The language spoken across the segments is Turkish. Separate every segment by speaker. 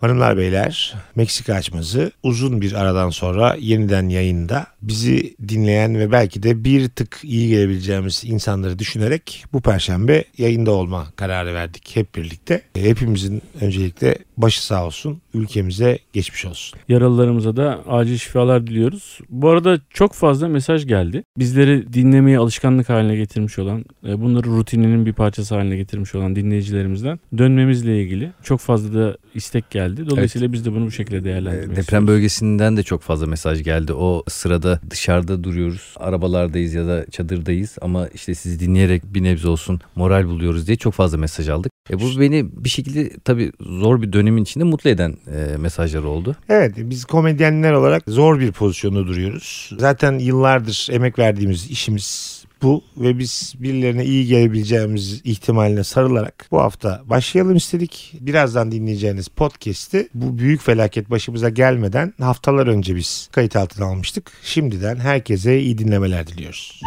Speaker 1: Hanımlar beyler Meksika açması uzun bir aradan sonra yeniden yayında bizi dinleyen ve belki de bir tık iyi gelebileceğimiz insanları düşünerek bu perşembe yayında olma kararı verdik hep birlikte. E, Hepimizin öncelikle başı sağ olsun ülkemize geçmiş olsun.
Speaker 2: Yaralılarımıza da acil şifalar diliyoruz. Bu arada çok fazla mesaj geldi. Bizleri dinlemeye alışkanlık haline getirmiş olan, e, bunları rutininin bir parçası haline getirmiş olan dinleyicilerimizden dönmemizle ilgili çok fazla da istek geldi. Dolayısıyla biz de bunu bu şekilde
Speaker 3: Ee,
Speaker 2: değerlendirmek
Speaker 3: Deprem
Speaker 2: istiyoruz.
Speaker 3: bölgesinden de çok fazla mesaj geldi. O sırada dışarıda duruyoruz. Arabalardayız ya da çadırdayız ama işte sizi dinleyerek bir nebze olsun moral buluyoruz diye çok fazla mesaj aldık. E bu beni bir şekilde tabii zor bir dönemin içinde mutlu eden e, mesajlar oldu.
Speaker 1: Evet biz komedyenler olarak zor bir pozisyonda duruyoruz. Zaten yıllardır emek verdiğimiz işimiz bu ve biz birilerine iyi gelebileceğimiz ihtimaline sarılarak bu hafta başlayalım istedik. Birazdan dinleyeceğiniz podcast'i bu büyük felaket başımıza gelmeden haftalar önce biz kayıt altına almıştık. Şimdiden herkese iyi dinlemeler diliyoruz.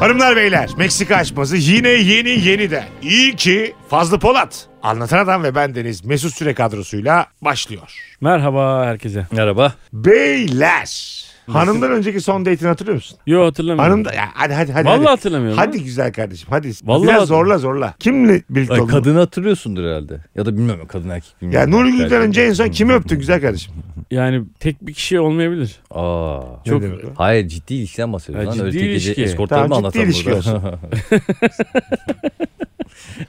Speaker 1: Hanımlar beyler Meksika açması yine yeni yeni de. İyi ki Fazlı Polat. Anlatan Adam ve ben Deniz Mesut Süre kadrosuyla başlıyor.
Speaker 2: Merhaba herkese.
Speaker 3: Merhaba.
Speaker 1: Beyler. Hanımdan önceki son date'ini hatırlıyor musun?
Speaker 2: Yo hatırlamıyorum.
Speaker 1: Hanım da ya hadi hadi hadi.
Speaker 2: Hmm. Vallahi
Speaker 1: hadi.
Speaker 2: hatırlamıyorum.
Speaker 1: Hadi güzel kardeşim hadi.
Speaker 2: Vallahi
Speaker 1: Biraz
Speaker 2: hadi.
Speaker 1: zorla zorla. Kimle birlikte
Speaker 3: Ay,
Speaker 1: oldun?
Speaker 3: kadını hatırlıyorsundur herhalde. Ya da bilmiyorum kadın erkek
Speaker 1: Ya
Speaker 3: bilmiyorum.
Speaker 1: Nuri Gül'den önce en son kimi öptün güzel kardeşim?
Speaker 2: Yani tek bir kişi olmayabilir.
Speaker 3: Aa.
Speaker 1: Ne
Speaker 2: Çok-
Speaker 1: demek o?
Speaker 3: Hayır ciddi ilişkiden bahsediyoruz.
Speaker 2: Ha,
Speaker 3: lan.
Speaker 2: ciddi
Speaker 3: Öyle tek gece
Speaker 2: ilişki.
Speaker 3: eskortları
Speaker 1: Tamam,
Speaker 3: mı
Speaker 1: ciddi ilişki
Speaker 3: anlatsam burada?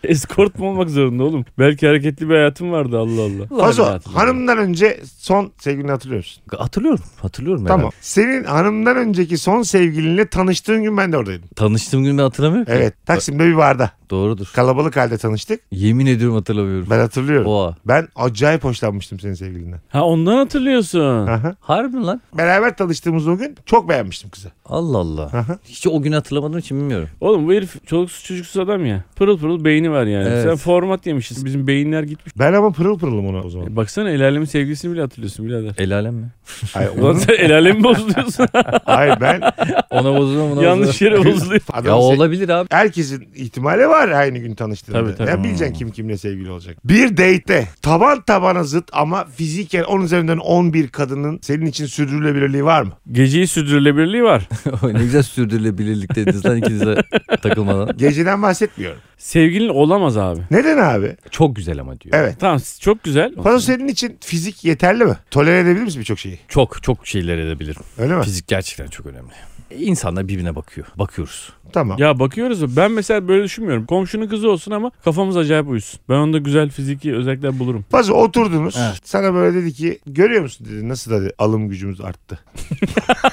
Speaker 2: Eskort mu olmak zorunda oğlum? Belki hareketli bir hayatım vardı Allah Allah.
Speaker 1: Fazo
Speaker 2: Hatırlamıyorum.
Speaker 1: hanımdan önce son sevgilini hatırlıyor musun?
Speaker 3: hatırlıyorum. Hatırlıyorum.
Speaker 1: Tamam.
Speaker 3: Tamam.
Speaker 1: Senin hanımdan önceki son sevgilinle tanıştığın gün ben de oradaydım.
Speaker 3: Tanıştığım gün ben hatırlamıyorum. ki.
Speaker 1: Evet Taksim'de bir barda.
Speaker 3: Doğrudur.
Speaker 1: Kalabalık halde tanıştık.
Speaker 3: Yemin ediyorum hatırlamıyorum.
Speaker 1: Ben hatırlıyorum.
Speaker 3: Oha.
Speaker 1: Ben acayip hoşlanmıştım senin sevgilinden.
Speaker 2: Ha ondan hatırlıyorsun.
Speaker 1: Aha.
Speaker 3: Harbi mi lan?
Speaker 1: Beraber tanıştığımız o gün çok beğenmiştim kızı.
Speaker 3: Allah Allah. Hiç o günü hatırlamadığım için bilmiyorum.
Speaker 2: Oğlum bu herif çoluksuz çocuksuz adam ya. Pırıl pırıl beyni var yani.
Speaker 3: Evet.
Speaker 2: Sen format yemişsin. Bizim beyinler gitmiş.
Speaker 1: Ben ama pırıl pırılım ona o zaman.
Speaker 2: E, baksana el alemin sevgilisini bile hatırlıyorsun birader.
Speaker 3: El alem mi?
Speaker 1: Ay,
Speaker 2: Ulan
Speaker 1: onun,
Speaker 2: sen el alemi bozuluyorsun.
Speaker 1: hayır ben
Speaker 3: Ona bozulma buna
Speaker 2: Yanlış yere bozuluyor.
Speaker 1: Adam şey-
Speaker 3: Ya
Speaker 1: se-
Speaker 3: olabilir abi.
Speaker 1: herkesin ihtimali var aynı gün tanıştığında.
Speaker 2: Tabii, tabii.
Speaker 1: Ne
Speaker 3: Hmm.
Speaker 1: bileceksin kim kimle sevgili olacak. Bir date'te taban tabana zıt ama fiziken 10 üzerinden 11 kadının senin için sürdürülebilirliği var mı?
Speaker 2: Geceyi sürdürülebilirliği var.
Speaker 3: ne güzel sürdürülebilirlik dediniz lan ikinize takılmadan.
Speaker 1: Geceden bahsetmiyorum.
Speaker 2: Sevgilin olamaz abi.
Speaker 1: Neden abi?
Speaker 3: Çok güzel ama diyor.
Speaker 1: Evet.
Speaker 2: Tamam çok güzel.
Speaker 1: Fazla senin için fizik yeterli mi? Tolere edebilir misin birçok şeyi?
Speaker 3: Çok çok şeyler edebilirim.
Speaker 1: Öyle mi?
Speaker 3: Fizik gerçekten çok önemli. İnsanlar birbirine bakıyor. Bakıyoruz.
Speaker 1: Tamam.
Speaker 2: Ya bakıyoruz da ben mesela böyle düşünmüyorum. Komşunun kızı olsun ama kafamız acayip uyusun. Ben onda güzel fiziki özellikler bulurum.
Speaker 1: Fazla oturdunuz.
Speaker 3: Evet.
Speaker 1: Sana böyle dedi ki görüyor musun dedi nasıl dedi alım gücümüz arttı.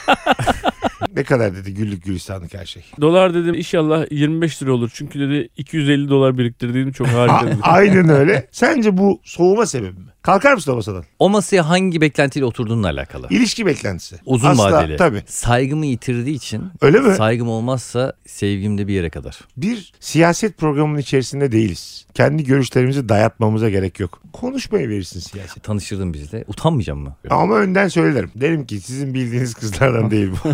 Speaker 1: ne kadar dedi güllük gülistanlık her şey.
Speaker 2: Dolar dedim inşallah 25 lira olur. Çünkü dedi 250 dolar biriktirdiğim çok harika
Speaker 1: A-
Speaker 2: dedi.
Speaker 1: aynen öyle. Sence bu soğuma sebebi mi? Kalkar mısın o masadan?
Speaker 3: O masaya hangi beklentiyle oturduğunla alakalı.
Speaker 1: İlişki beklentisi.
Speaker 3: Uzun
Speaker 1: Asla,
Speaker 3: vadeli.
Speaker 1: Tabii.
Speaker 3: Saygımı yitirdiği için
Speaker 1: Öyle mi?
Speaker 3: saygım olmazsa sevgim de bir yere kadar.
Speaker 1: Bir siyaset programının içerisinde değiliz. Kendi görüşlerimizi dayatmamıza gerek yok. Konuşmayı verirsin siyaset.
Speaker 3: Tanışırdın bizle. Utanmayacağım mı?
Speaker 1: Ama önden söylerim. Derim ki sizin bildiğiniz kızlardan değil bu.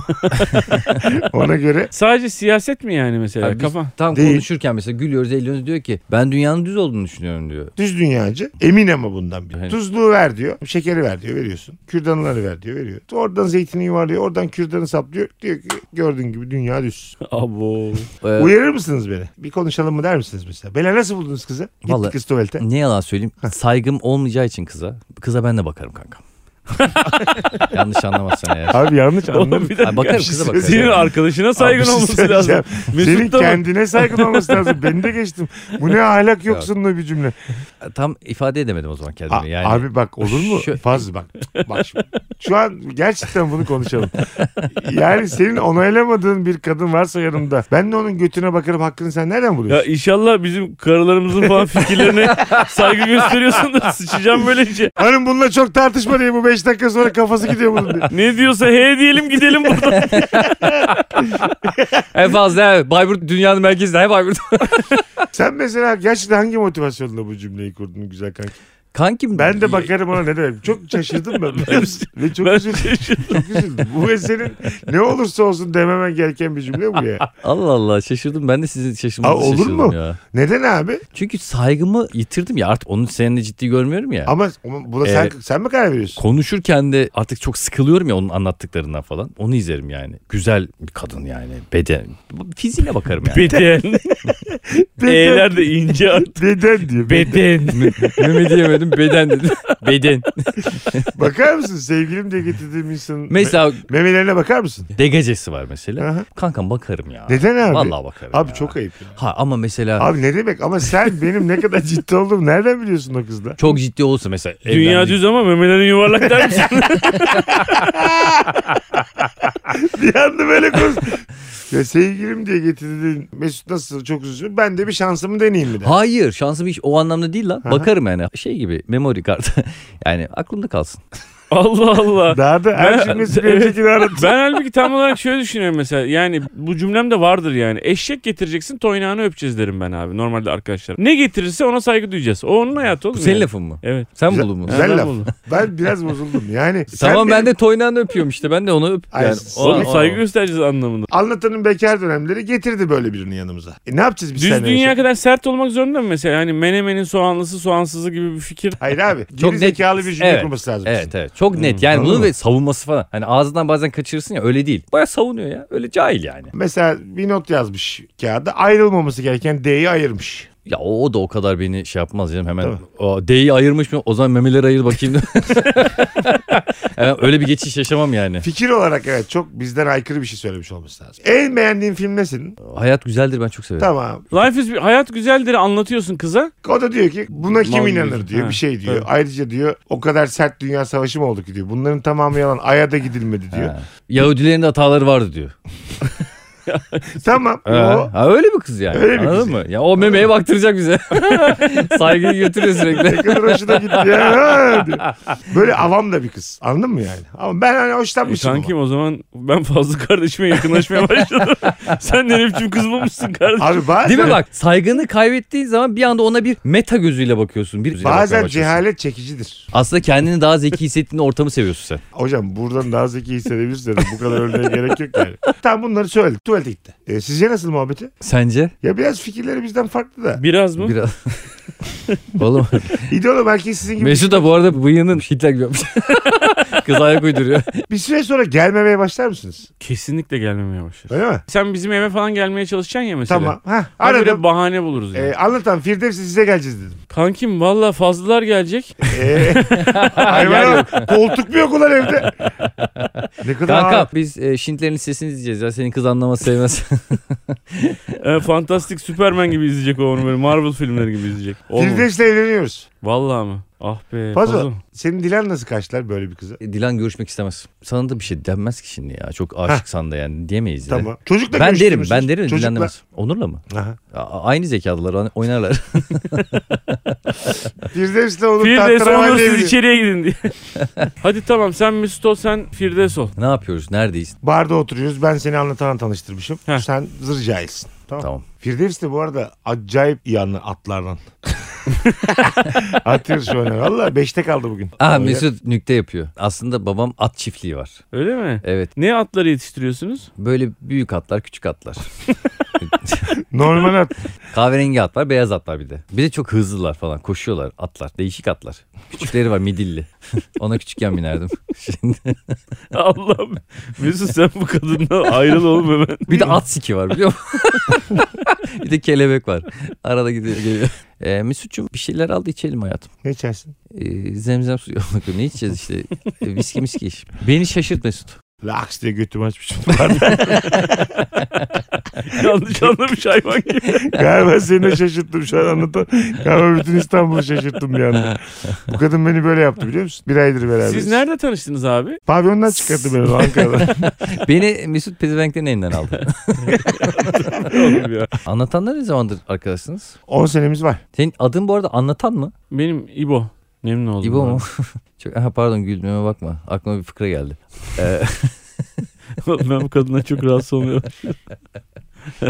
Speaker 1: Ona göre
Speaker 2: Sadece siyaset mi yani mesela?
Speaker 3: Abi biz
Speaker 2: Kafa.
Speaker 3: tam
Speaker 1: Değil.
Speaker 3: konuşurken mesela gülüyoruz eğleniyoruz diyor ki ben dünyanın düz olduğunu düşünüyorum diyor.
Speaker 1: düz dünyacı. Emin ama bundan bir.
Speaker 3: Evet.
Speaker 1: Tuzluğu ver diyor. Şekeri ver diyor. Veriyorsun. Kürdanları ver diyor. Veriyor. Oradan zeytini yuvarlıyor. Oradan kürdanı saplıyor. Diyor ki gördüğün gibi dünya düz.
Speaker 2: Abo.
Speaker 3: Ee,
Speaker 1: Uyarır mısınız beni? Bir konuşalım mı der misiniz mesela? Bela nasıl buldunuz kızı? Gitti
Speaker 3: Vallahi-
Speaker 1: kız tuvalete.
Speaker 3: Ne yalan söyleyeyim. Saygım olmayacağı için kıza. Kıza ben de bakarım kankam. Yanlış anlamazsan eğer.
Speaker 1: Abi yanlış anladın.
Speaker 2: Oğlum bir dakika.
Speaker 3: Ay, bakarım
Speaker 1: Bir şey
Speaker 3: kıza bakarım.
Speaker 2: Senin arkadaşına saygın
Speaker 1: Abi bir şey
Speaker 2: olması
Speaker 1: söyleyeceğim.
Speaker 2: lazım.
Speaker 1: Senin
Speaker 2: Mesut da bak-
Speaker 1: kendine saygın olması lazım. Beni de geçtim. Bu ne ahlak yoksunluğu bir cümle.
Speaker 3: Tam ifade edemedim o zaman kendimi.
Speaker 1: A-
Speaker 3: yani
Speaker 1: Abi bak olur mu?
Speaker 3: Şu-
Speaker 1: Fazla bak. Bak şimdi. Şu an gerçekten bunu konuşalım. Yani senin onaylamadığın bir kadın varsa yanımda. Ben de onun götüne bakarım hakkını sen nereden
Speaker 2: Ya
Speaker 1: buluyorsun?
Speaker 2: inşallah bizim karılarımızın falan fikirlerine saygı gösteriyorsun da sıçacağım böyle şey.
Speaker 1: Hanım bununla çok tartışma diye bu 5 dakika sonra kafası gidiyor bunun diye.
Speaker 2: Ne diyorsa he diyelim gidelim buradan.
Speaker 3: en fazla he, Bayburt dünyanın merkezinde he Bayburt.
Speaker 1: Sen mesela gerçekten hangi motivasyonla bu cümleyi kurdun güzel kanka?
Speaker 3: Kankim
Speaker 1: Ben de bakarım ona ne demek. Çok şaşırdım ben. biliyor musun? Ve çok
Speaker 2: Ben
Speaker 1: üzüldüm. Çok üzüldüm. Bu ve senin ne olursa olsun dememen gereken bir cümle bu ya.
Speaker 3: Allah Allah şaşırdım. Ben de sizin şaşırmanızı
Speaker 1: Aa, olur
Speaker 3: şaşırdım
Speaker 1: mu?
Speaker 3: ya.
Speaker 1: Neden abi?
Speaker 3: Çünkü saygımı yitirdim ya artık onu seninle ciddi görmüyorum ya.
Speaker 1: Ama buna sen, sen mi karar veriyorsun?
Speaker 3: Konuşurken de artık çok sıkılıyorum ya onun anlattıklarından falan. Onu izlerim yani. Güzel bir kadın yani. Beden. Fiziğine bakarım yani.
Speaker 2: Beden. E'ler de ince artık.
Speaker 1: Neden diyor.
Speaker 2: Beden.
Speaker 3: Meme diyemedim beden dedim. Beden.
Speaker 1: Bakar mısın sevgilim diye getirdiğim insanın
Speaker 3: Mesela
Speaker 1: me- memelerine bakar mısın?
Speaker 3: degacesi var mesela.
Speaker 1: Aha.
Speaker 3: Kankam bakarım ya.
Speaker 1: Neden abi?
Speaker 3: Vallahi bakarım
Speaker 1: Abi
Speaker 3: ya.
Speaker 1: çok ayıp. ya.
Speaker 3: Ha ama mesela
Speaker 1: Abi ne demek ama sen benim ne kadar ciddi olduğumu nereden biliyorsun o kızla?
Speaker 3: çok ciddi olsa mesela.
Speaker 2: Dünya
Speaker 3: evlendik-
Speaker 2: düz ama memelerin yuvarlak der misin?
Speaker 1: Bir anda böyle konuş. Ya sevgilim diye getirdiğin Mesut nasıl çok üzüldü. Ben de bir şansımı deneyeyim mi? der.
Speaker 3: Hayır şansım hiç o anlamda değil lan.
Speaker 1: Aha.
Speaker 3: Bakarım yani. Şey gibi memory card. yani aklımda kalsın.
Speaker 2: Allah Allah.
Speaker 1: Daha da her cümlesi bir öncekini aratır.
Speaker 2: Ben halbuki tam olarak şöyle düşünüyorum mesela. Yani bu cümlem de vardır yani. Eşek getireceksin toynağını öpeceğiz derim ben abi. Normalde arkadaşlar. Ne getirirse ona saygı duyacağız. O onun hayatı oğlum.
Speaker 3: Bu senin
Speaker 2: yani.
Speaker 3: lafın mı?
Speaker 2: Evet.
Speaker 3: Sen
Speaker 1: Güzel-
Speaker 3: buldun mu?
Speaker 1: Güzel
Speaker 2: Ben
Speaker 1: laf.
Speaker 2: buldum.
Speaker 1: Ben biraz bozuldum yani. sen
Speaker 3: Tamam
Speaker 1: benim-
Speaker 3: ben de toynağını öpüyorum işte. Ben de onu öp.
Speaker 1: Ay,
Speaker 3: Yani, o-
Speaker 2: Oğlum
Speaker 3: o-
Speaker 2: saygı göstereceğiz anlamında.
Speaker 1: Anlatanın bekar dönemleri getirdi böyle birini yanımıza. E ne yapacağız biz
Speaker 2: Düz
Speaker 1: seninle
Speaker 2: dünya
Speaker 1: mesela?
Speaker 2: kadar sert olmak zorunda mı mesela? Yani menemenin soğanlısı soğansızı gibi bir fikir.
Speaker 1: Hayır abi. Geri
Speaker 3: Çok net-
Speaker 1: zekalı bir cümle
Speaker 3: Evet.
Speaker 1: kurması lazım.
Speaker 3: Evet evet çok net yani bunu ve savunması falan. Hani ağzından bazen kaçırırsın ya öyle değil. Baya savunuyor ya öyle cahil yani.
Speaker 1: Mesela bir not yazmış kağıda. Ayrılmaması gereken D'yi ayırmış.
Speaker 3: Ya o, o da o kadar beni şey yapmaz canım hemen. O, D'yi ayırmış mı o zaman memeleri ayır bakayım. Hemen öyle bir geçiş yaşamam yani.
Speaker 1: Fikir olarak evet çok bizden aykırı bir şey söylemiş olması lazım. En beğendiğin film ne senin?
Speaker 3: Hayat güzeldir ben çok severim.
Speaker 1: Tamam.
Speaker 2: Life is hayat güzeldir anlatıyorsun kıza.
Speaker 1: O da diyor ki buna kim
Speaker 3: Mal
Speaker 1: inanır
Speaker 3: diyorsun.
Speaker 1: diyor.
Speaker 2: Ha,
Speaker 1: Bir şey diyor.
Speaker 2: evet.
Speaker 1: Ayrıca diyor o kadar sert dünya savaşı mı oldu ki diyor. Bunların tamamı yalan. Ay'a da gidilmedi diyor.
Speaker 3: Ha. Yahudilerin de hataları vardı diyor.
Speaker 1: Tamam.
Speaker 3: Ha,
Speaker 1: o
Speaker 3: ha, öyle bir kız yani.
Speaker 1: Öyle bir
Speaker 3: Anladın
Speaker 1: kız
Speaker 3: mı? Ya o memeye baktıracak bize. Saygıyı götürüyor sürekli.
Speaker 1: ne kadar hoşuna gitti ya. Ha, diyor. Böyle avam da bir kız. Anladın mı yani? Ama ben hani
Speaker 2: E,
Speaker 1: hoşlanmışım. ama.
Speaker 2: kankim o zaman ben fazla kardeşime yakınlaşmaya başladım. Sen ne biçim kız bulmuşsun kardeşim.
Speaker 1: Abi bazen,
Speaker 3: Değil mi bak? Saygını kaybettiğin zaman bir anda ona bir meta gözüyle bakıyorsun. Bir gözüyle bakmaya
Speaker 1: Bazen
Speaker 3: başlıyorsun.
Speaker 1: cehalet çekicidir.
Speaker 3: Aslında kendini daha zeki hissettiğin ortamı seviyorsun sen.
Speaker 1: Hocam buradan daha zeki hissedebilirsin. dedim. Bu kadar örneğe gerek yok yani. Tamam bunları söyledik. Tuvalete gitti. E, sizce nasıl muhabbeti?
Speaker 3: Sence?
Speaker 1: Ya biraz fikirleri bizden farklı da.
Speaker 2: Biraz mı?
Speaker 3: Biraz. Oğlum
Speaker 1: İdeolo belki sizin gibi
Speaker 3: Mesut da bu arada bıyığının Hitler gibi yapmış. Kız ayak uyduruyor.
Speaker 1: bir süre sonra gelmemeye başlar mısınız?
Speaker 2: Kesinlikle gelmemeye başlar.
Speaker 1: Öyle mi?
Speaker 2: Sen bizim eve falan gelmeye çalışacaksın ya mesela.
Speaker 1: Tamam. Ha,
Speaker 2: Abi böyle
Speaker 1: aradım.
Speaker 2: bahane buluruz yani.
Speaker 1: E, anlatan Firdevs'e size geleceğiz dedim.
Speaker 2: Kankim valla fazlalar gelecek.
Speaker 1: E, hayvan yok. Koltuk mu yok ulan evde? Ne kadar
Speaker 3: Kanka
Speaker 1: ağır.
Speaker 3: biz e, Şintlerin sesini izleyeceğiz ya. Senin kız anlamaz sevmez.
Speaker 2: Ee, fantastik Superman gibi izleyecek o onu böyle Marvel filmleri gibi izleyecek. Olmaz.
Speaker 1: Firdevs'le evleniyoruz.
Speaker 2: Valla mı? Ah be.
Speaker 1: Fazla.
Speaker 2: Fazla.
Speaker 1: Senin Dilan nasıl karşılar böyle bir kıza?
Speaker 3: E, Dilan görüşmek istemez. Sana da bir şey denmez ki şimdi ya. Çok aşıksan da yani diyemeyiz de.
Speaker 1: Tamam. Çocukla
Speaker 3: Ben derim
Speaker 1: görüştürmüşsünüz.
Speaker 3: ben derim Dilan
Speaker 1: Çocukla.
Speaker 3: demez. Onur'la mı?
Speaker 1: Aha.
Speaker 3: A- aynı zekalılar o- oynarlar.
Speaker 1: Firdevs'le onu
Speaker 2: Firdevs
Speaker 1: tahtaravan
Speaker 2: olur siz
Speaker 1: diyebilirim.
Speaker 2: içeriye gidin diye. Hadi tamam sen Mesut ol sen Firdevs ol.
Speaker 3: ne yapıyoruz? Neredeyiz?
Speaker 1: Barda oturuyoruz. Ben seni anlatana tanıştırmışım.
Speaker 2: Heh.
Speaker 1: Sen zırcaysın. Tamam.
Speaker 3: Tamam.
Speaker 1: Firdevs de bu arada acayip iyi anlar atlardan. At yarışı oynar. Valla 5'te kaldı bugün.
Speaker 3: Aa
Speaker 1: Öyle.
Speaker 3: Mesut nükte yapıyor. Aslında babam at çiftliği var.
Speaker 2: Öyle mi?
Speaker 3: Evet.
Speaker 2: Ne atları yetiştiriyorsunuz?
Speaker 3: Böyle büyük atlar, küçük atlar.
Speaker 1: Normal at.
Speaker 3: Kahverengi atlar, beyaz atlar bir de. Bir de çok hızlılar falan. Koşuyorlar atlar. Değişik atlar. Küçükleri var midilli. Ona küçükken binerdim. Şimdi.
Speaker 2: Allah'ım. Mesut sen bu kadından ayrıl oğlum hemen.
Speaker 3: Bir de at siki var biliyor musun? bir de kelebek var. Arada gidiyor geliyor. Ee, Mesut'cum bir şeyler aldı içelim hayatım.
Speaker 1: Ne içersin?
Speaker 3: Ee, zemzem suyu almak ne içeceğiz işte. Ee, viski miski iş. Beni şaşırt Mesut.
Speaker 1: Laks diye götümü açmışım. Barda.
Speaker 2: Yanlış anlamış hayvan gibi.
Speaker 1: Galiba seni de şaşırttım şu an anlatan. Galiba bütün İstanbul'u şaşırttım bir anda. Bu kadın beni böyle yaptı biliyor musun? Bir aydır beraberiz.
Speaker 2: Siz nerede tanıştınız abi?
Speaker 1: Pavyondan çıkarttı beni Ankara'dan.
Speaker 3: Beni Mesut pezevenklerin elinden aldı.
Speaker 2: Oğlum ya.
Speaker 3: Anlatanlar ne zamandır arkadaşsınız?
Speaker 1: 10 senemiz var.
Speaker 3: Senin adın bu arada anlatan mı?
Speaker 2: Benim İbo. Memnun oldum.
Speaker 3: İbo mu?
Speaker 2: abi.
Speaker 3: Çok, aha, pardon güldüğüme bakma. Aklıma bir fıkra geldi. Ee,
Speaker 2: ben bu kadına çok rahatsız oluyorum.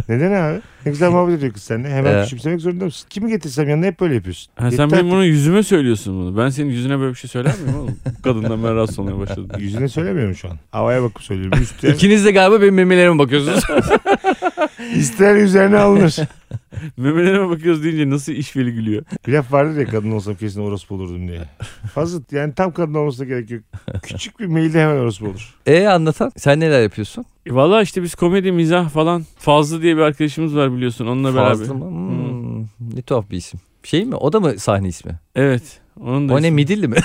Speaker 1: Neden abi? Ne güzel muhabbet ediyor kız seninle. Hemen
Speaker 3: Ee.
Speaker 1: küçümsemek zorunda mısın? Kimi getirsem yanına hep böyle yapıyorsun.
Speaker 2: Ha, sen
Speaker 1: Yeter
Speaker 2: benim
Speaker 1: ki-
Speaker 2: bunu yüzüme söylüyorsun bunu. Ben senin yüzüne böyle bir şey söyler miyim oğlum? Bu Kadından ben rahatsız olmaya başladım.
Speaker 1: Yüzüne söylemiyorum şu an. Havaya bakıp söylüyorum. Üstüne,
Speaker 3: İkiniz de galiba benim memelerime bakıyorsunuz.
Speaker 1: ister üzerine alınır.
Speaker 2: Memelerime bakıyoruz deyince nasıl işveli gülüyor.
Speaker 1: Bir laf vardır ya kadın olsam kesin orospu olurdum diye. Fazla yani tam kadın olmasına gerek yok. Küçük bir mailde hemen orospu olur.
Speaker 3: e anlatan sen neler yapıyorsun?
Speaker 2: E, Valla işte biz komedi, mizah falan. Fazlı diye bir arkadaşımız var biliyorsun onunla beraber.
Speaker 3: Fazlı mı? Hmm, Ne tuhaf bir isim. Şey mi? O da mı sahne ismi?
Speaker 2: Evet. Onun da
Speaker 3: O ne
Speaker 2: ismi.
Speaker 3: midilli mi?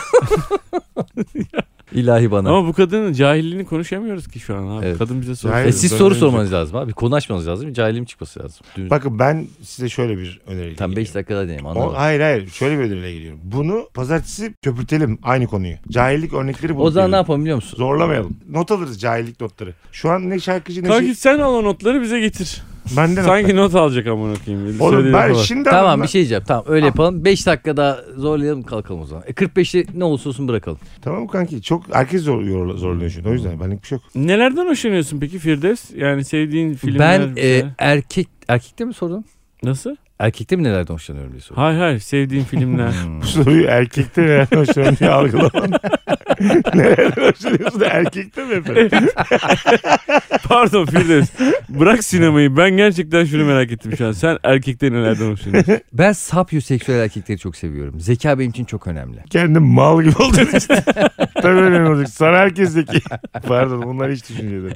Speaker 3: İlahi bana.
Speaker 2: Ama bu kadının cahilliğini konuşamıyoruz ki şu an abi.
Speaker 3: Evet.
Speaker 2: Kadın bize soru
Speaker 1: Cahil-
Speaker 3: E
Speaker 2: soruyor.
Speaker 3: siz
Speaker 1: Ben
Speaker 3: soru
Speaker 1: önce-
Speaker 3: sormanız lazım abi. Konu açmanız lazım. Cahilim çıkması lazım. Dün-
Speaker 1: Bakın ben size şöyle bir öneri
Speaker 3: Tam 5 dakikada deneyim
Speaker 1: O,
Speaker 3: anlamadım.
Speaker 1: hayır hayır şöyle bir öneriyle geliyorum. Bunu pazartesi köpürtelim aynı konuyu. Cahillik örnekleri
Speaker 3: O zaman ne
Speaker 1: bulup
Speaker 3: yapalım biliyor musun?
Speaker 1: Zorlamayalım. Not alırız cahillik notları. Şu an ne şarkıcı ne
Speaker 2: Kanki
Speaker 1: şey.
Speaker 2: sen al o notları bize getir.
Speaker 1: Benden
Speaker 2: Sanki şey not alacak amına koyayım.
Speaker 1: Oğlum
Speaker 2: Söylediğin
Speaker 1: ben
Speaker 2: falan.
Speaker 1: şimdi
Speaker 3: Tamam
Speaker 1: anladım
Speaker 3: bir şey diyeceğim. Tamam öyle yapalım. 5 dakika daha zorlayalım kalkalım o zaman. E 45'i ne olursa olsun bırakalım.
Speaker 1: lan. Tamam kanki çok herkes zor, yorla- zorlanıyor şimdi. O yüzden benlik bir şey yok.
Speaker 2: Nelerden hoşlanıyorsun peki Firdevs? Yani sevdiğin filmler
Speaker 3: ben
Speaker 2: bize-
Speaker 3: e, erkek erkekte mi sordum?
Speaker 2: Nasıl?
Speaker 3: Erkekte mi nelerden hoşlanıyorum diye sordum. Hmm.
Speaker 2: Hayır hayır sevdiğin filmler.
Speaker 1: Bu soruyu erkekte nereden hoşlanıyor diye algılamam. nereden hoşlanıyorsun erkekte mi efendim?
Speaker 2: Pardon Firdevs. Bırak sinemayı. Ben gerçekten şunu merak ettim şu an. Sen erkekte nelerden hoşlanıyorsun?
Speaker 3: Ben sapyoseksüel erkekleri çok seviyorum. Zeka benim için çok önemli.
Speaker 1: Kendim mal gibi oldun işte. Tabii öyle olacak. Sana herkes zeki. Pardon bunlar hiç düşüncedim.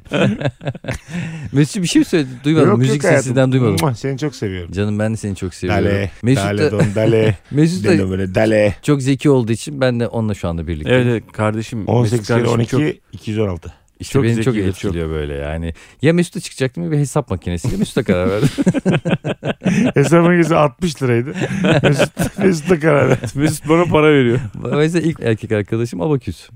Speaker 3: Mesut bir şey mi söyledin? Duymadım. Müzik sesinden duymadım.
Speaker 1: Mua, Seni çok seviyorum.
Speaker 3: Canım ben de seni çok seviyorum.
Speaker 1: Dale,
Speaker 3: Mesut
Speaker 1: dale
Speaker 3: da,
Speaker 1: don dale.
Speaker 3: Mesut
Speaker 1: Dino
Speaker 3: da
Speaker 1: böyle dale.
Speaker 3: çok zeki olduğu için ben de onunla şu anda birlikte.
Speaker 2: evet, evet kardeşim.
Speaker 1: 18
Speaker 2: Mesut
Speaker 1: kere
Speaker 2: kardeşim
Speaker 1: 12,
Speaker 2: çok-
Speaker 1: 216.
Speaker 3: İşte
Speaker 2: Çok
Speaker 3: beni çok
Speaker 2: zeki, çok.
Speaker 3: etkiliyor böyle yani. Ya Mesut'a çıkacaktım ya bir hesap makinesiyle Mesut'a karar verdim.
Speaker 1: Hesap makinesi 60 liraydı. Mesut, Mesut da karar verdi.
Speaker 2: Mesut bana para veriyor.
Speaker 3: o yüzden ilk erkek arkadaşım Abaküs.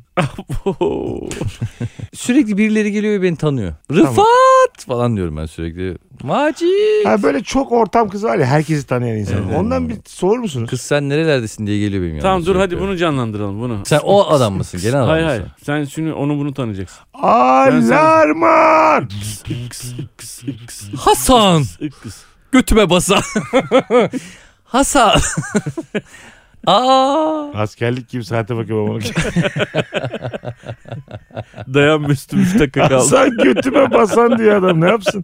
Speaker 3: Sürekli birileri geliyor ve beni tanıyor. Rıfat falan diyorum ben sürekli. Macit.
Speaker 1: Ha böyle çok ortam kızı var ya herkesi tanıyan insan.
Speaker 3: Evet.
Speaker 1: Ondan bir sorur musunuz?
Speaker 3: Kız sen nerelerdesin diye geliyor benim yanıma.
Speaker 2: tamam dur hadi
Speaker 3: sürekli.
Speaker 2: bunu canlandıralım bunu.
Speaker 3: Sen o adam mısın? Genel adam
Speaker 2: hayır
Speaker 3: mısın?
Speaker 2: hayır. Sen şimdi onu bunu tanıyacaksın.
Speaker 1: Alarman!
Speaker 3: Hasan. Götüme basa. Hasan. Aa.
Speaker 1: Askerlik gibi saate bakıyorum ama.
Speaker 2: Dayan Mesut'um 3 dakika kaldı.
Speaker 1: Sen götüme basan diye adam ne yapsın?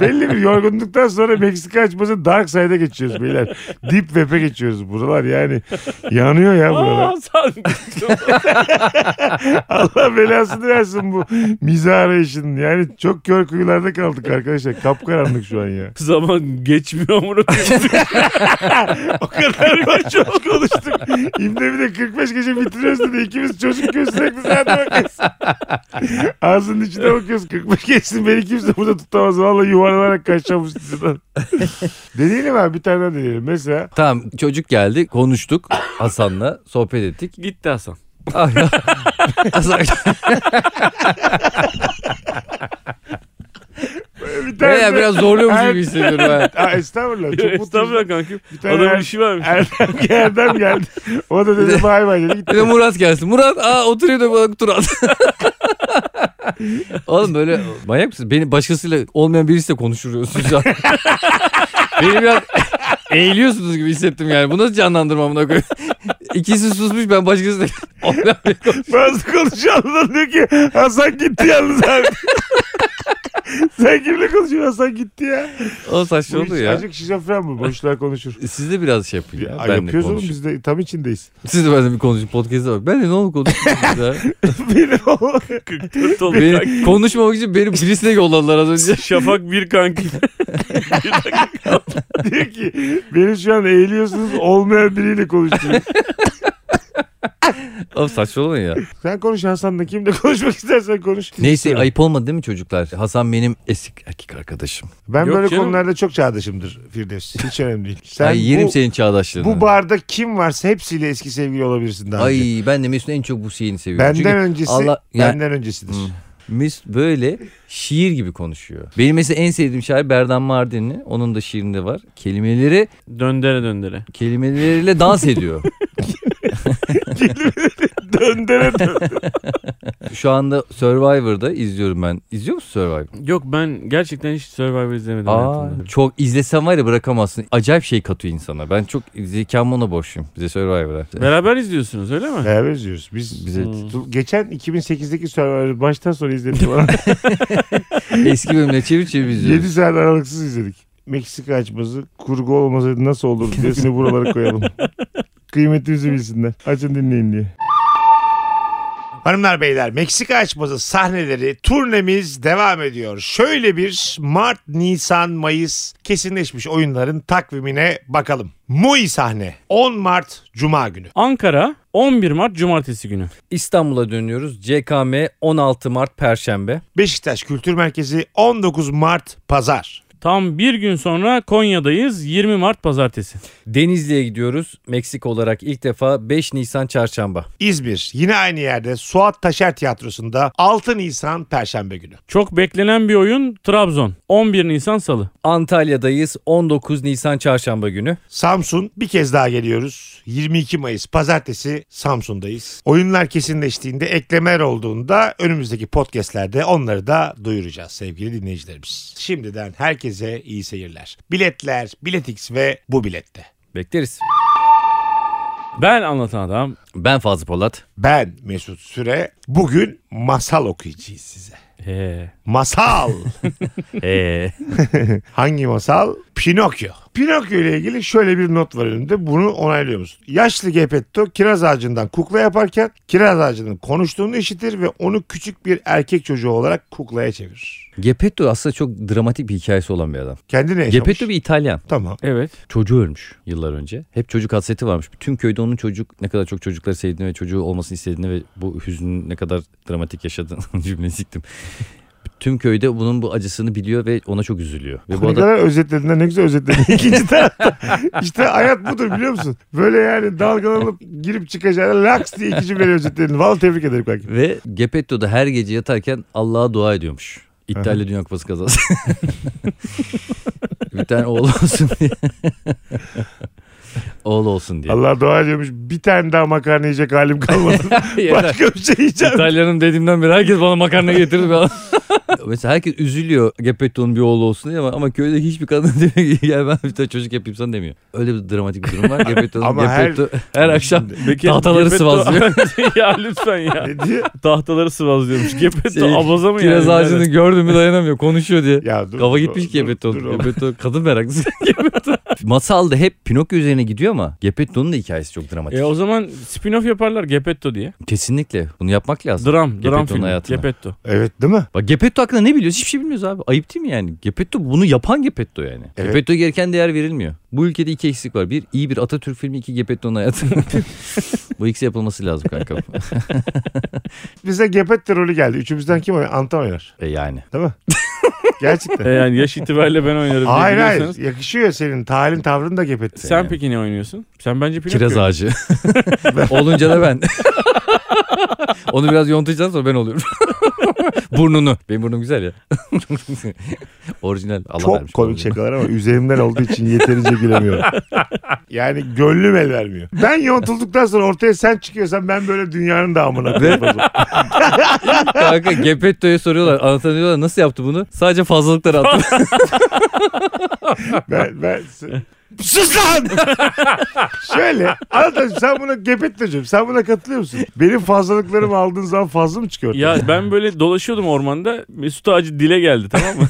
Speaker 1: Belli bir yorgunluktan sonra Meksika açması Dark Side'a geçiyoruz beyler. Deep Web'e geçiyoruz. Buralar yani yanıyor ya buralar.
Speaker 2: Aa, sen...
Speaker 1: Allah belasını versin bu mizah arayışının. Yani çok kör kuyularda kaldık arkadaşlar. Kapkaranlık şu an ya.
Speaker 2: Zaman geçmiyor amına koyayım.
Speaker 1: O kadar çok konuştuk. İmde bir de 45 gece bitiriyoruz dedi. İkimiz çocuk göz sürekli zaten bakıyoruz. Ağzının içine bakıyoruz. 45 geçsin beni kimse burada tutamaz. Valla yuvarlanarak kaçacağım bu stüdyodan. Deneyelim abi bir tane daha deneyelim. Mesela
Speaker 3: Tamam çocuk geldi konuştuk Hasan'la sohbet ettik.
Speaker 2: Gitti Hasan.
Speaker 3: Ah ya. Hasan
Speaker 1: bir tane
Speaker 3: Veya
Speaker 1: de-
Speaker 3: biraz zorluyormuş gibi hissediyorum ben.
Speaker 1: Aa, estağfurullah. Çok
Speaker 2: Estağfurullah
Speaker 1: mutluyum.
Speaker 2: kankim.
Speaker 1: Bir tane
Speaker 2: Adamın şey
Speaker 1: Er-
Speaker 2: işi varmış.
Speaker 1: Erdem, Erdem geldi. O da dedi bay bay dedi.
Speaker 3: Bir de Murat gelsin. Murat aa oturuyor da bana tur at. Oğlum böyle manyak mısın? Beni başkasıyla olmayan birisiyle konuşuyorsunuz şu an. Beni biraz eğiliyorsunuz gibi hissettim yani. Bu nasıl canlandırma amına koyayım? İkisi susmuş ben başkasıyla olmayan bir-
Speaker 1: Bazı konuşanlar diyor ki Hasan gitti yalnız abi. Sen kimle konuşuyorsun Hasan gitti ya.
Speaker 3: O saçma
Speaker 1: Bu
Speaker 3: oldu
Speaker 1: hiç-
Speaker 3: ya.
Speaker 1: Azıcık şizofren bu. Boşluğa konuşur.
Speaker 3: Siz de biraz şey yapın ya.
Speaker 1: Ya,
Speaker 3: ben de
Speaker 1: yapıyoruz oğlum
Speaker 3: konuşayım.
Speaker 1: biz de tam içindeyiz.
Speaker 3: Siz de benimle bir konuşun. Podcast'a bak. Ben de ne olur konuşun. ya.
Speaker 1: Benim o-
Speaker 2: 44 oldu kankim.
Speaker 3: beni, konuşmamak için beni birisine yolladılar az önce.
Speaker 2: Şafak bir kankim.
Speaker 1: diyor ki beni şu an eğiliyorsunuz olmayan biriyle konuşturuyor.
Speaker 3: Oğlum saçmalamayın ya.
Speaker 1: Sen konuş Hasan'la kimle konuşmak istersen konuş.
Speaker 3: Neyse ayıp olmadı değil mi çocuklar? Hasan benim eski erkek arkadaşım.
Speaker 1: Ben
Speaker 2: Yok
Speaker 1: böyle
Speaker 2: canım.
Speaker 1: konularda çok çağdaşımdır Firdevs. Hiç önemli değil. Sen
Speaker 3: Ay yerim
Speaker 1: bu,
Speaker 3: senin çağdaşlığını.
Speaker 1: bu barda kim varsa hepsiyle eski sevgili olabilirsin daha önce.
Speaker 3: Ay ben de Mesut'un en çok bu şeyini seviyorum.
Speaker 1: Benden
Speaker 3: Çünkü
Speaker 1: öncesi
Speaker 3: Allah- Hmm. yani-
Speaker 1: benden öncesidir.
Speaker 3: Hı. Mesut böyle şiir gibi konuşuyor. Benim mesela en sevdiğim şair Berdan Mardinli. Onun da şiirinde var. Kelimeleri
Speaker 2: Döndere döndere.
Speaker 3: kelimeleriyle dans ediyor.
Speaker 1: Döndere dön.
Speaker 3: Şu anda Survivor'da izliyorum ben. İzliyor musun Survivor?
Speaker 2: Yok ben gerçekten hiç Survivor izlemedim
Speaker 3: Aa,
Speaker 2: hayatımda.
Speaker 3: çok izlesem var ya bırakamazsın. Acayip şey katıyor insana. Ben çok zekam ona borçluyum. Bize Survivor'a.
Speaker 2: Beraber izliyorsunuz öyle mi?
Speaker 1: Beraber izliyoruz. Biz
Speaker 3: Bize
Speaker 2: Hmm.
Speaker 1: Dur, geçen 2008'deki Survivor'ı baştan sona izledim. bana.
Speaker 3: eski bölümleri çevir çevir izliyoruz.
Speaker 1: 7 saat aralıksız izledik. Meksika açması kurgu olmasaydı nasıl olurdu diye seni buralara koyalım. Kıymetimizi bilsinler. Açın dinleyin diye. Hanımlar beyler Meksika açması sahneleri turnemiz devam ediyor. Şöyle bir Mart, Nisan, Mayıs kesinleşmiş oyunların takvimine bakalım. Muy sahne 10 Mart Cuma günü.
Speaker 2: Ankara 11 Mart Cumartesi günü.
Speaker 3: İstanbul'a dönüyoruz. CKM 16 Mart Perşembe.
Speaker 1: Beşiktaş Kültür Merkezi 19 Mart Pazar.
Speaker 2: Tam bir gün sonra Konya'dayız 20 Mart Pazartesi.
Speaker 3: Denizli'ye gidiyoruz. Meksika olarak ilk defa 5 Nisan Çarşamba.
Speaker 1: İzmir yine aynı yerde Suat Taşer Tiyatrosu'nda 6 Nisan Perşembe günü.
Speaker 2: Çok beklenen bir oyun Trabzon 11 Nisan Salı.
Speaker 3: Antalya'dayız 19 Nisan Çarşamba günü.
Speaker 1: Samsun bir kez daha geliyoruz. 22 Mayıs pazartesi Samsun'dayız. Oyunlar kesinleştiğinde eklemeler olduğunda önümüzdeki podcastlerde onları da duyuracağız sevgili dinleyicilerimiz. Şimdiden herkese iyi seyirler. Biletler, Biletix ve bu bilette.
Speaker 3: Bekleriz.
Speaker 2: Ben anlatan adam
Speaker 3: Ben Fazlı Polat.
Speaker 1: Ben Mesut Süre bugün masal okuyacağız size.
Speaker 2: He.
Speaker 1: Masal.
Speaker 3: Ee,
Speaker 1: Hangi masal? Pinokyo. Pinokyo ile ilgili şöyle bir not var önünde. Bunu onaylıyor musun? Yaşlı Gepetto kiraz ağacından kukla yaparken kiraz ağacının konuştuğunu işitir ve onu küçük bir erkek çocuğu olarak kuklaya çevirir.
Speaker 3: Gepetto aslında çok dramatik bir hikayesi olan bir adam.
Speaker 1: Kendine yaşamış.
Speaker 3: Gepetto bir İtalyan.
Speaker 1: Tamam.
Speaker 2: Evet.
Speaker 3: Çocuğu ölmüş yıllar önce. Hep çocuk hasreti varmış. Bütün köyde onun çocuk ne kadar çok çocukları sevdiğini ve çocuğu olmasını istediğini ve bu hüznün ne kadar dramatik yaşadığını cümleyi siktim. Tüm köyde bunun bu acısını biliyor ve ona çok üzülüyor. Ve bu
Speaker 1: Ne
Speaker 3: adam
Speaker 1: kadar özetledin de ne güzel özetledin. İkinci tarafta işte hayat budur biliyor musun? Böyle yani dalgalanıp girip çıkacağına laks diye iki cümleyle özetledin. Vallahi tebrik ederim kanka.
Speaker 3: ve Gepetto da her gece yatarken Allah'a dua ediyormuş. İtalya Dünya Kupası kazası. bir tane oğlu olsun diye. oğul olsun diye.
Speaker 1: Allah dua ediyormuş. Bir tane daha makarna yiyecek halim kalmadı. Başka bir şey yiyeceğim.
Speaker 3: İtalyanım dediğimden beri herkes bana makarna getirdi. Ben... Mesela herkes üzülüyor Gepetto'nun bir oğlu olsun diye ama, ama köyde hiçbir kadın demiyor ki gel ben bir tane çocuk yapayım sana demiyor. Öyle bir dramatik bir durum var. Gepetto'nun
Speaker 1: Ama her-
Speaker 3: Gepetto her... akşam
Speaker 2: Peki,
Speaker 3: Tahtaları
Speaker 2: Gepetto-
Speaker 3: sıvazlıyor.
Speaker 2: ya lütfen ya.
Speaker 1: Ne diyor?
Speaker 2: Tahtaları sıvazlıyormuş. Gepetto
Speaker 3: Şey,
Speaker 2: abaza mı
Speaker 3: kiraz
Speaker 2: yani?
Speaker 3: ağacını gördüm mü dayanamıyor konuşuyor diye.
Speaker 1: Ya dur,
Speaker 3: Kafa
Speaker 1: dur,
Speaker 3: gitmiş ki
Speaker 1: dur, dur
Speaker 3: Gepetto'nun.
Speaker 1: oğlum.
Speaker 3: Gepetto kadın meraklısı. Gepetto. Masalda hep Pinokyo üzerine gidiyor ama Gepetto'nun da hikayesi çok dramatik.
Speaker 2: E o zaman spin-off yaparlar Gepetto diye.
Speaker 3: Kesinlikle bunu yapmak lazım.
Speaker 2: Dram, dram
Speaker 3: Gepetto'nun
Speaker 2: filmi.
Speaker 3: hayatına.
Speaker 2: Gepetto.
Speaker 1: Evet değil mi?
Speaker 3: Bak Gepetto hakkında ne biliyoruz? Hiçbir şey bilmiyoruz abi. Ayıp değil mi yani? Gepetto bunu yapan Gepetto yani.
Speaker 1: Evet.
Speaker 3: Gepetto gereken değer verilmiyor. Bu ülkede iki eksik var. Bir iyi bir Atatürk filmi, iki Gepetto'nun hayatı. Bu ikisi yapılması lazım kanka.
Speaker 1: Bize Gepetto rolü geldi. Üçümüzden kim oynar? Antan oynar.
Speaker 3: e yani.
Speaker 1: Değil mi? Gerçekten.
Speaker 3: Ee,
Speaker 2: E yani yaş itibariyle ben oynarım. diye
Speaker 1: hayır hayır.
Speaker 2: biliyorsanız.
Speaker 1: Yakışıyor senin. Talim tavrın da Gepetto.
Speaker 2: Sen
Speaker 3: Yani.
Speaker 2: peki ne oynuyorsun? Sen bence Pinokyo.
Speaker 3: Kiraz ağacı. Olunca da ben. Onu biraz yontacağım sonra ben oluyorum. Burnunu. Benim burnum güzel ya. Orijinal. Allah
Speaker 1: Çok
Speaker 3: vermiş.
Speaker 1: komik şey. şakalar ama üzerimden olduğu için yeterince gülemiyorum. yani gönlüm el vermiyor. Ben yontulduktan sonra ortaya sen çıkıyorsan ben böyle dünyanın da amına koyayım o zaman.
Speaker 3: Kanka Gepetto'ya soruyorlar. Anlatan diyorlar nasıl yaptı bunu? Sadece fazlalıkları attı.
Speaker 1: ben, ben... Sus lan! Şöyle anlatayım sen buna Gepetto'cum sen buna katılıyor musun? Benim fazlalıklarımı aldığın zaman fazla mı çıkıyor?
Speaker 2: Ya ben böyle dolaşıyordum ormanda. Mesut Ağacı dile geldi tamam mı?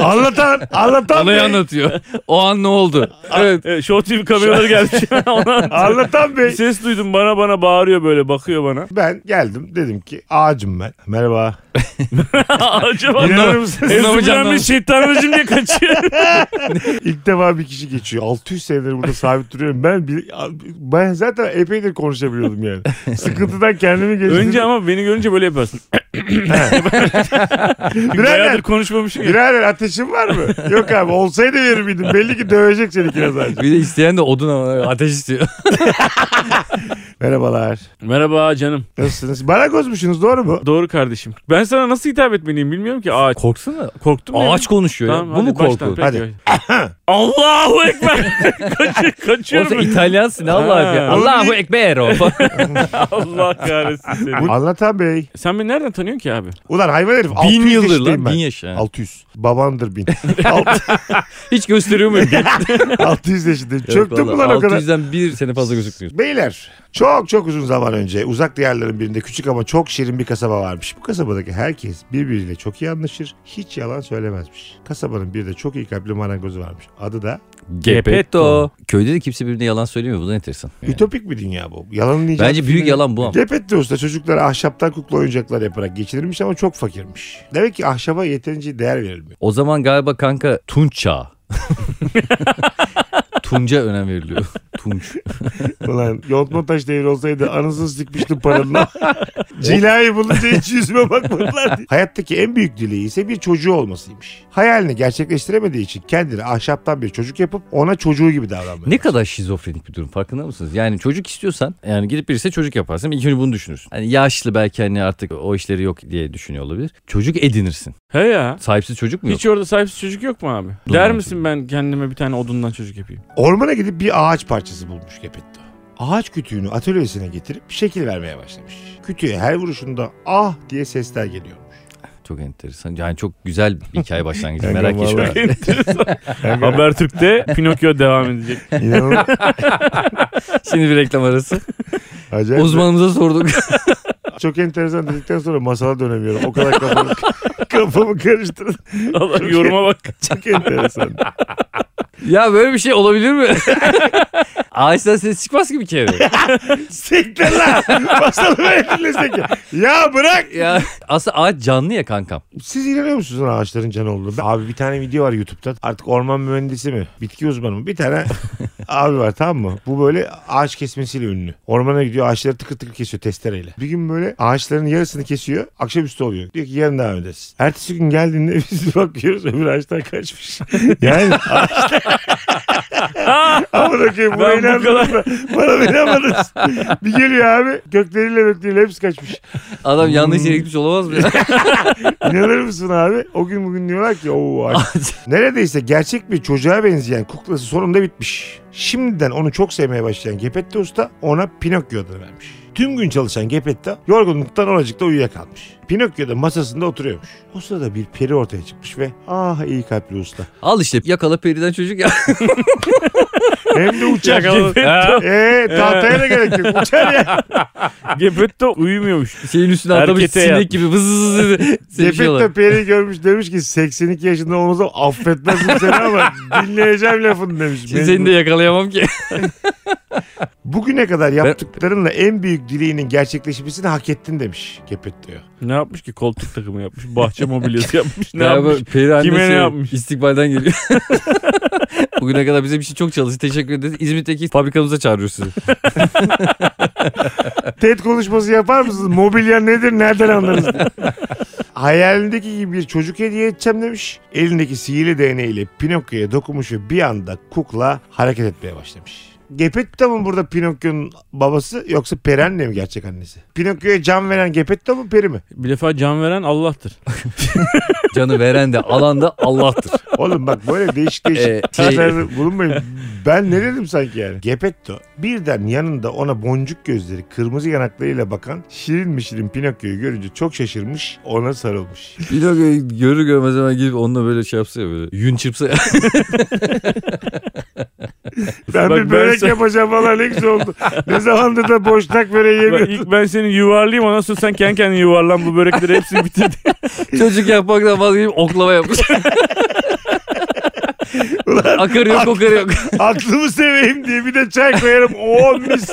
Speaker 1: Anlatan, anlatan
Speaker 3: Anayı
Speaker 1: bey,
Speaker 3: anlatıyor. O an ne oldu? Evet.
Speaker 2: evet, Show TV kameraları geldi. Ona
Speaker 1: anlatan
Speaker 2: bir
Speaker 1: bey.
Speaker 2: ses duydum bana bana bağırıyor böyle bakıyor bana.
Speaker 1: Ben geldim dedim ki ağacım ben. Merhaba.
Speaker 2: Acaba
Speaker 1: İnanır mısınız?
Speaker 3: Bunlar mı
Speaker 2: Ezubilen bir
Speaker 3: canlandı?
Speaker 2: şeytan rejim diye kaçıyor.
Speaker 1: İlk defa bir kişi geçiyor. 600 senedir burada sabit duruyorum. Ben bir, ben zaten epeydir konuşabiliyordum yani. Sıkıntıdan kendimi geçtim.
Speaker 2: Önce ama beni görünce böyle yaparsın. Çünkü Bayağıdır
Speaker 1: birader,
Speaker 2: konuşmamışım. ya.
Speaker 1: birader ateşin var mı? Yok abi olsaydı verir miydim? Belli ki dövecek seni kiraz ağacı.
Speaker 3: Bir de isteyen de odun ama ateş istiyor.
Speaker 1: Merhabalar.
Speaker 2: Merhaba canım.
Speaker 1: Nasılsınız? Baragozmuşsunuz doğru mu?
Speaker 2: Doğru kardeşim. Ben sana nasıl hitap etmeliyim bilmiyorum ki ağaç.
Speaker 3: Korksana.
Speaker 2: Korktum ya.
Speaker 3: Ağaç konuşuyor ya.
Speaker 2: Tamam,
Speaker 3: Bu mu
Speaker 2: hadi baştan.
Speaker 3: korku?
Speaker 2: Peki. Allahu Ekber. Kaçıyor, kaçıyorum.
Speaker 3: Oysa İtalyansın Allah'ım ya.
Speaker 2: Ha.
Speaker 3: Allahu Ekber o.
Speaker 2: Allah kahretsin seni.
Speaker 1: Anlatan Bey.
Speaker 2: Sen beni nereden tanıyorsun ki abi?
Speaker 1: Ulan hayvan herif.
Speaker 3: bin
Speaker 1: 600
Speaker 3: yıldır
Speaker 1: yaşındayım
Speaker 3: lan.
Speaker 1: ben.
Speaker 3: Bin yaş. ha.
Speaker 1: 600. Babandır bin.
Speaker 3: Hiç gösteriyor muyum?
Speaker 1: 600 yaşındayım. Çöktüm ulan o kadar.
Speaker 3: 600'den bir sene fazla gözükmüyor.
Speaker 1: Beyler çok çok uzun zaman önce uzak diyarların birinde küçük ama çok şirin bir kasaba varmış. Bu kasabadaki herkes birbiriyle çok iyi anlaşır. Hiç yalan söylemezmiş. Kasabanın bir de çok iyi kalpli marangozu varmış. Adı da
Speaker 3: Gepetto. Köyde de kimse birbirine yalan söylemiyor. Bu da enteresan. Yani.
Speaker 1: Ütopik bir dünya bu. Yalanın icat
Speaker 3: Bence büyük yalan bu ama.
Speaker 1: Gepetto Usta çocuklara ahşaptan kukla oyuncaklar yaparak geçinirmiş ama çok fakirmiş. Demek ki ahşaba yeterince değer verilmiyor.
Speaker 3: O zaman galiba kanka Tunç çağı. Tunca önem veriliyor. Tunç.
Speaker 1: Ulan yontma taş devri olsaydı anasını sikmiştim paranla. Cilayı bulunca hiç yüzüme bakmadılar diye. Hayattaki en büyük dileği ise bir çocuğu olmasıymış. Hayalini gerçekleştiremediği için kendini ahşaptan bir çocuk yapıp ona çocuğu gibi davranmıyor.
Speaker 3: Ne kadar şizofrenik bir durum farkında mısınız? Yani çocuk istiyorsan yani gidip birisi çocuk yaparsın. İlk önce bunu düşünürsün. Hani yaşlı belki hani artık o işleri yok diye düşünüyor olabilir. Çocuk edinirsin.
Speaker 2: He ya.
Speaker 3: Sahipsiz çocuk mu yok?
Speaker 2: Hiç orada sahipsiz çocuk yok mu abi?
Speaker 3: Doğru.
Speaker 2: Der misin ben kendime bir tane odundan çocuk yapayım?
Speaker 1: Ormana gidip bir ağaç parçası bulmuş Gepetto. Ağaç kütüğünü atölyesine getirip şey- şekil vermeye başlamış. Kütüğe her vuruşunda ah diye sesler geliyormuş.
Speaker 3: Çok enteresan. Yani çok güzel bir hikaye başlangıcı.
Speaker 1: Kanka
Speaker 3: Merak etme.
Speaker 1: vallahi.
Speaker 2: Habertürk'te Pinokyo devam edecek.
Speaker 1: İnanılmaz.
Speaker 3: Şimdi bir reklam arası.
Speaker 1: Acayip.
Speaker 3: Uzmanımıza sorduk.
Speaker 1: Çok enteresan dedikten sonra masala dönemiyorum. O kadar kafamı, kafamı karıştırdım.
Speaker 2: Allah yoruma bak.
Speaker 1: Çok enteresan.
Speaker 3: ya böyle bir şey olabilir mi? Ağaçtan ses çıkmaz ki bir kere.
Speaker 1: Siktir lan. Masalı verilirse Ya bırak.
Speaker 3: ya, aslında ağaç canlı ya kankam.
Speaker 1: Siz inanıyor musunuz lan ağaçların canı olduğunu? Abi bir tane video var YouTube'da. Artık orman mühendisi mi? Bitki uzmanı mı? Bir tane abi var tamam mı? Bu böyle ağaç kesmesiyle ünlü. Ormana gidiyor ağaçları tıkır tıkır kesiyor testereyle. Bir gün böyle ağaçların yarısını kesiyor. Akşamüstü oluyor. Diyor ki yarın devam ederiz. Ertesi gün geldiğinde biz bakıyoruz öbür ağaçtan kaçmış. Yani Ama da ki buna
Speaker 2: Ben bu
Speaker 1: inanmadınız mı? Bana da inanmadınız. Bir geliyor abi gökleriyle gökleriyle hepsi kaçmış.
Speaker 3: Adam yanlış
Speaker 1: Hmm.
Speaker 3: yere gitmiş olamaz mı? ya?
Speaker 1: İnanır mısın abi? O gün bugün diyorlar ki ooo ağaç Neredeyse gerçek bir çocuğa benzeyen kuklası sonunda bitmiş. Şimdiden onu çok sevmeye başlayan Gepetta Usta ona Pinokyo adını vermiş. Tüm gün çalışan Gepetta yorgunluktan oracıkta uyuyakalmış. Pinokyo da masasında oturuyormuş. O sırada bir peri ortaya çıkmış ve ah iyi kalpli usta.
Speaker 3: Al işte yakala periden çocuk ya.
Speaker 1: Hem de uçak.
Speaker 2: Gepetto-
Speaker 1: Eee tahtaya da gerek yok. Uçar ya.
Speaker 2: Gepetto uyumuyormuş.
Speaker 3: Şeyin üstüne atlamış
Speaker 2: Harekete
Speaker 3: sinek
Speaker 2: yatmış.
Speaker 3: gibi vız vız vız şey vız sevişiyorlar.
Speaker 1: Gepetta peri görmüş demiş ki 82 yaşında olmasam affetmezdim seni ama dinleyeceğim lafını demiş.
Speaker 3: Şimdi seni de yakalayamam ki.
Speaker 1: Bugüne kadar yaptıklarınla en büyük dileğinin gerçekleşmesini hak ettin demiş Gepet diyor.
Speaker 2: Ne yapmış ki? Koltuk takımı yapmış. Bahçe mobilyası yapmış. Ne
Speaker 3: Galiba
Speaker 2: yapmış?
Speaker 3: Peri annesi
Speaker 2: Kime ne yapmış?
Speaker 3: istikbalden geliyor. Bugüne kadar bize bir şey çok çalıştı. Teşekkür ederiz. İzmit'teki fabrikamıza çağırıyoruz sizi.
Speaker 1: TED konuşması yapar mısınız? Mobilya nedir? Nereden anlarız? Hayalindeki gibi bir çocuk hediye edeceğim demiş. Elindeki sihirli değneğiyle Pinokyo'ya dokunmuş ve bir anda kukla hareket etmeye başlamış. Gepetto mu burada Pinokyo'nun babası yoksa peri anne mi gerçek annesi? Pinokyo'ya can veren Gepetto mu peri mi?
Speaker 2: Bir defa can veren Allah'tır.
Speaker 3: Canı veren de alan da Allah'tır.
Speaker 1: Oğlum bak böyle değişik değişik
Speaker 3: Ee, şey-
Speaker 1: Taşlar bulunmayın. Ben ne dedim sanki yani? Gepetto birden yanında ona boncuk gözleri kırmızı yanaklarıyla bakan şirin mi şirin Pinokyo'yu görünce çok şaşırmış ona sarılmış.
Speaker 3: Pinokyo'yu görür görmez hemen gidip onunla böyle şey yapsa ya böyle. Yün çırpsa ya.
Speaker 1: Ben
Speaker 2: Bak
Speaker 1: bir
Speaker 2: ben
Speaker 1: börek
Speaker 2: sen-
Speaker 1: yapacağım falan ne güzel oldu. ne zamandır da boşnak böreği
Speaker 2: Ben,
Speaker 1: yemiyordum.
Speaker 2: ilk ben seni yuvarlayayım ondan sonra sen kendi kendine yuvarlan bu börekleri hepsini bitir.
Speaker 3: Çocuk yapmaktan vazgeçip oklava yapmış. Akar yok kokar yok.
Speaker 1: Aklımı seveyim diye bir de çay koyarım. Oo mis.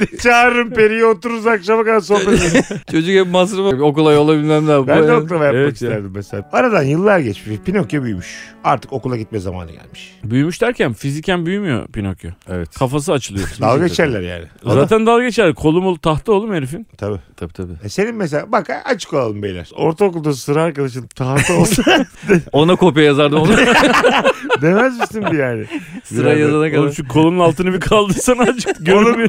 Speaker 1: Bir de Çağırırım periyi otururuz akşama kadar sohbet ederiz.
Speaker 3: Çocuk hep masrafı okula yola bilmem ne yap.
Speaker 1: Ben de oklava yapmak
Speaker 2: Evet ya.
Speaker 1: isterdim mesela. Aradan yıllar geçmiş. Pinokyo büyümüş. Artık okula gitme zamanı gelmiş.
Speaker 2: Büyümüş derken fiziken büyümüyor Pinokyo.
Speaker 3: Evet.
Speaker 2: Kafası açılıyor.
Speaker 1: Dalga geçerler yani.
Speaker 2: Zaten dalga geçer. Kolumul tahta oğlum herifin.
Speaker 1: Tabii.
Speaker 3: Tabii tabii.
Speaker 1: E senin mesela bak açık olalım beyler. Ortaokulda sıra arkadaşın tahta olsa
Speaker 3: Ona kopya yazardım onu.
Speaker 1: Demez misin bir yani?
Speaker 3: Sıra yazana
Speaker 2: Oğlum
Speaker 3: kadar.
Speaker 2: şu kolunun altını bir kaldırsana azıcık. Görünmüyor.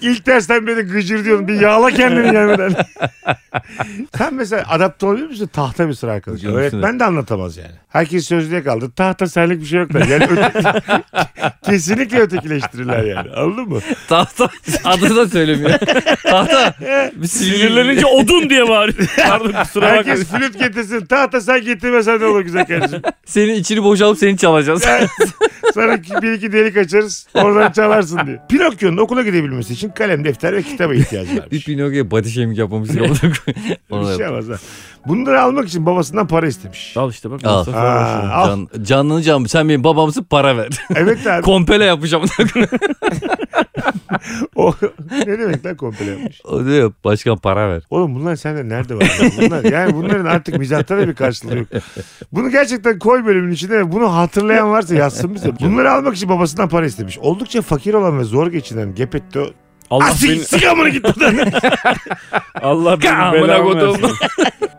Speaker 1: İlk dersten beni gıcır diyorsun. Bir yağla kendini gelmeden. Sen mesela adapte olabilir misin? Tahta bir sıra arkadaşı.
Speaker 3: Canım
Speaker 1: Öğretmen de anlatamaz yani. Herkes sözlüğe kaldı. Tahta senlik bir şey yok da. Yani öte- kesinlikle ötekileştirirler yani. Anladın mı?
Speaker 3: Tahta adını da söylemiyor. Tahta. Bir
Speaker 2: Sinirlenince odun diye bağırıyor. Pardon kusura bakma.
Speaker 1: Herkes flüt getirsin. Tahta sen getirmesen ne olur güzel kardeşim.
Speaker 3: Senin içini boşalıp seni çalacağız.
Speaker 1: Yani Sana bir iki delik açarız. Oradan çalarsın diye. Pinokyo'nun okula gidebilmesi için kalem, defter ve kitaba ihtiyacı
Speaker 3: Bir
Speaker 1: varmış.
Speaker 3: Pinokyo'ya body shaming yapmamız yapmadık.
Speaker 1: Bir şey yapmaz ha. Bunları almak için babasından para istemiş.
Speaker 2: Al işte bak.
Speaker 3: Al.
Speaker 2: masrafı
Speaker 1: Aa.
Speaker 2: uğraşıyorum.
Speaker 1: Al.
Speaker 3: Can, canını can. Sen benim babamsın para ver.
Speaker 1: Evet abi.
Speaker 3: Kompele yapacağım.
Speaker 1: O, ne demek lan komple yapmış.
Speaker 3: o diyor başkan para ver.
Speaker 1: Oğlum bunlar sende nerede var? ya? Bunlar, yani bunların artık mizatta da bir karşılığı yok. Bunu gerçekten koy bölümün içine ve bunu hatırlayan varsa yazsın bize. Bunları almak için babasından para istemiş. Oldukça fakir olan ve zor geçinen Gepetto...
Speaker 2: Allah
Speaker 1: Asil
Speaker 2: beni,
Speaker 1: sigamını git buradan.
Speaker 2: Allah
Speaker 3: Amına
Speaker 2: beni belamı
Speaker 3: kodum.
Speaker 2: versin.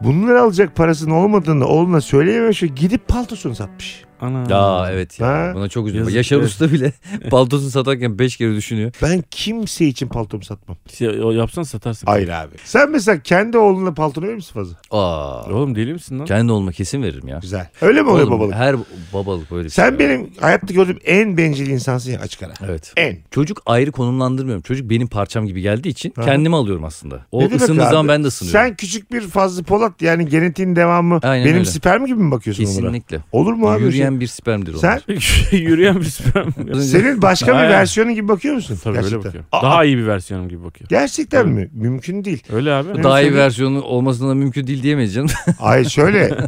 Speaker 1: Bunları alacak parasının olmadığını oğluna söyleyememiş ve gidip paltosunu satmış.
Speaker 2: Ana.
Speaker 3: Ya evet ya.
Speaker 1: Ha?
Speaker 3: Buna çok üzüldüm.
Speaker 2: Yazık
Speaker 3: Yaşar
Speaker 2: ya.
Speaker 3: Usta bile paltosunu satarken 5 kere düşünüyor.
Speaker 1: Ben kimse için paltomu satmam.
Speaker 2: Şey, o yapsan satarsın.
Speaker 1: Hayır abi. Sen mesela kendi oğluna paltonu verir misin fazla?
Speaker 3: Aa.
Speaker 2: Oğlum deli misin lan?
Speaker 3: Kendi olma kesin veririm ya.
Speaker 1: Güzel. Öyle mi oluyor
Speaker 3: Oğlum,
Speaker 1: babalık?
Speaker 3: Her babalık öyle. bir şey
Speaker 1: Sen
Speaker 3: ya.
Speaker 1: benim hayatta gördüğüm en bencil insansın ya açık ara.
Speaker 3: Evet.
Speaker 1: En.
Speaker 3: Çocuk ayrı konumlandırmıyorum. Çocuk benim parçam gibi geldiği için
Speaker 1: Aha.
Speaker 3: kendimi alıyorum aslında. O
Speaker 1: Ne demek
Speaker 3: ısındığı
Speaker 1: abi?
Speaker 3: zaman ben de ısınıyorum.
Speaker 1: Sen küçük bir Fazlı Polat yani genetiğin devamı
Speaker 3: Aynen
Speaker 1: benim
Speaker 3: öyle.
Speaker 1: sperm gibi mi bakıyorsun onlara?
Speaker 3: Kesinlikle.
Speaker 1: Olur mu abi?
Speaker 2: şey-
Speaker 3: Yürüyen bir spermdir onlar.
Speaker 1: Sen-
Speaker 2: Yürüyen bir sperm.
Speaker 1: Senin başka bir
Speaker 2: Aynen.
Speaker 1: versiyonun gibi bakıyor musun?
Speaker 2: Tabii
Speaker 1: Gerçekten.
Speaker 2: öyle bakıyorum.
Speaker 1: Aa,
Speaker 2: Daha iyi bir versiyonum gibi bakıyor.
Speaker 1: Gerçekten mi? Mümkün değil.
Speaker 2: Öyle abi.
Speaker 3: Daha iyi
Speaker 1: Senin-
Speaker 3: versiyonu olmasına mümkün değil diyemeyiz canım.
Speaker 1: Ay şöyle.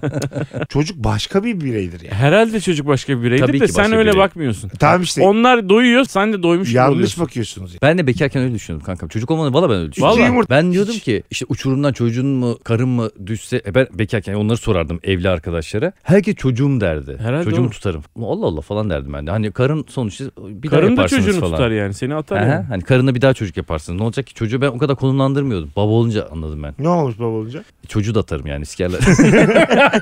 Speaker 1: çocuk başka bir bireydir yani.
Speaker 2: Herhalde çocuk başka bir bireydir
Speaker 3: Tabii ki
Speaker 2: de
Speaker 3: başka
Speaker 2: sen
Speaker 3: bir
Speaker 2: öyle
Speaker 3: birey.
Speaker 2: bakmıyorsun.
Speaker 1: Tamam işte.
Speaker 2: Onlar doyuyor sen de doymuş gibi
Speaker 1: yanlış
Speaker 2: oluyorsun.
Speaker 1: bakıyorsunuz. Yani.
Speaker 3: ben de bekarken öyle düşünüyordum kankam. Çocuk olmadan valla ben öyle
Speaker 1: Hiç
Speaker 3: düşünüyordum.
Speaker 1: yumurta-
Speaker 3: Ben diyordum ki işte uçurumdan çocuğun mu karın mı düşse e ben bekarken onları sorardım evli arkadaşlara. Herkes çocuğum derdi.
Speaker 2: Herhalde
Speaker 3: Çocuğumu
Speaker 2: oğlum.
Speaker 3: tutarım. Allah Allah falan derdim ben de. Hani karın sonuçta bir daha
Speaker 2: Karın da
Speaker 3: yaparsınız
Speaker 2: çocuğunu
Speaker 3: falan.
Speaker 2: tutar yani seni atar
Speaker 3: Aha,
Speaker 2: yani.
Speaker 3: hani karına bir daha çocuk yaparsınız. Ne olacak ki çocuğu ben o kadar konumlandırmıyordum. Baba olunca anladım ben.
Speaker 1: Ne olmuş baba olunca?
Speaker 3: Çocuğu da atarım yani iskerler.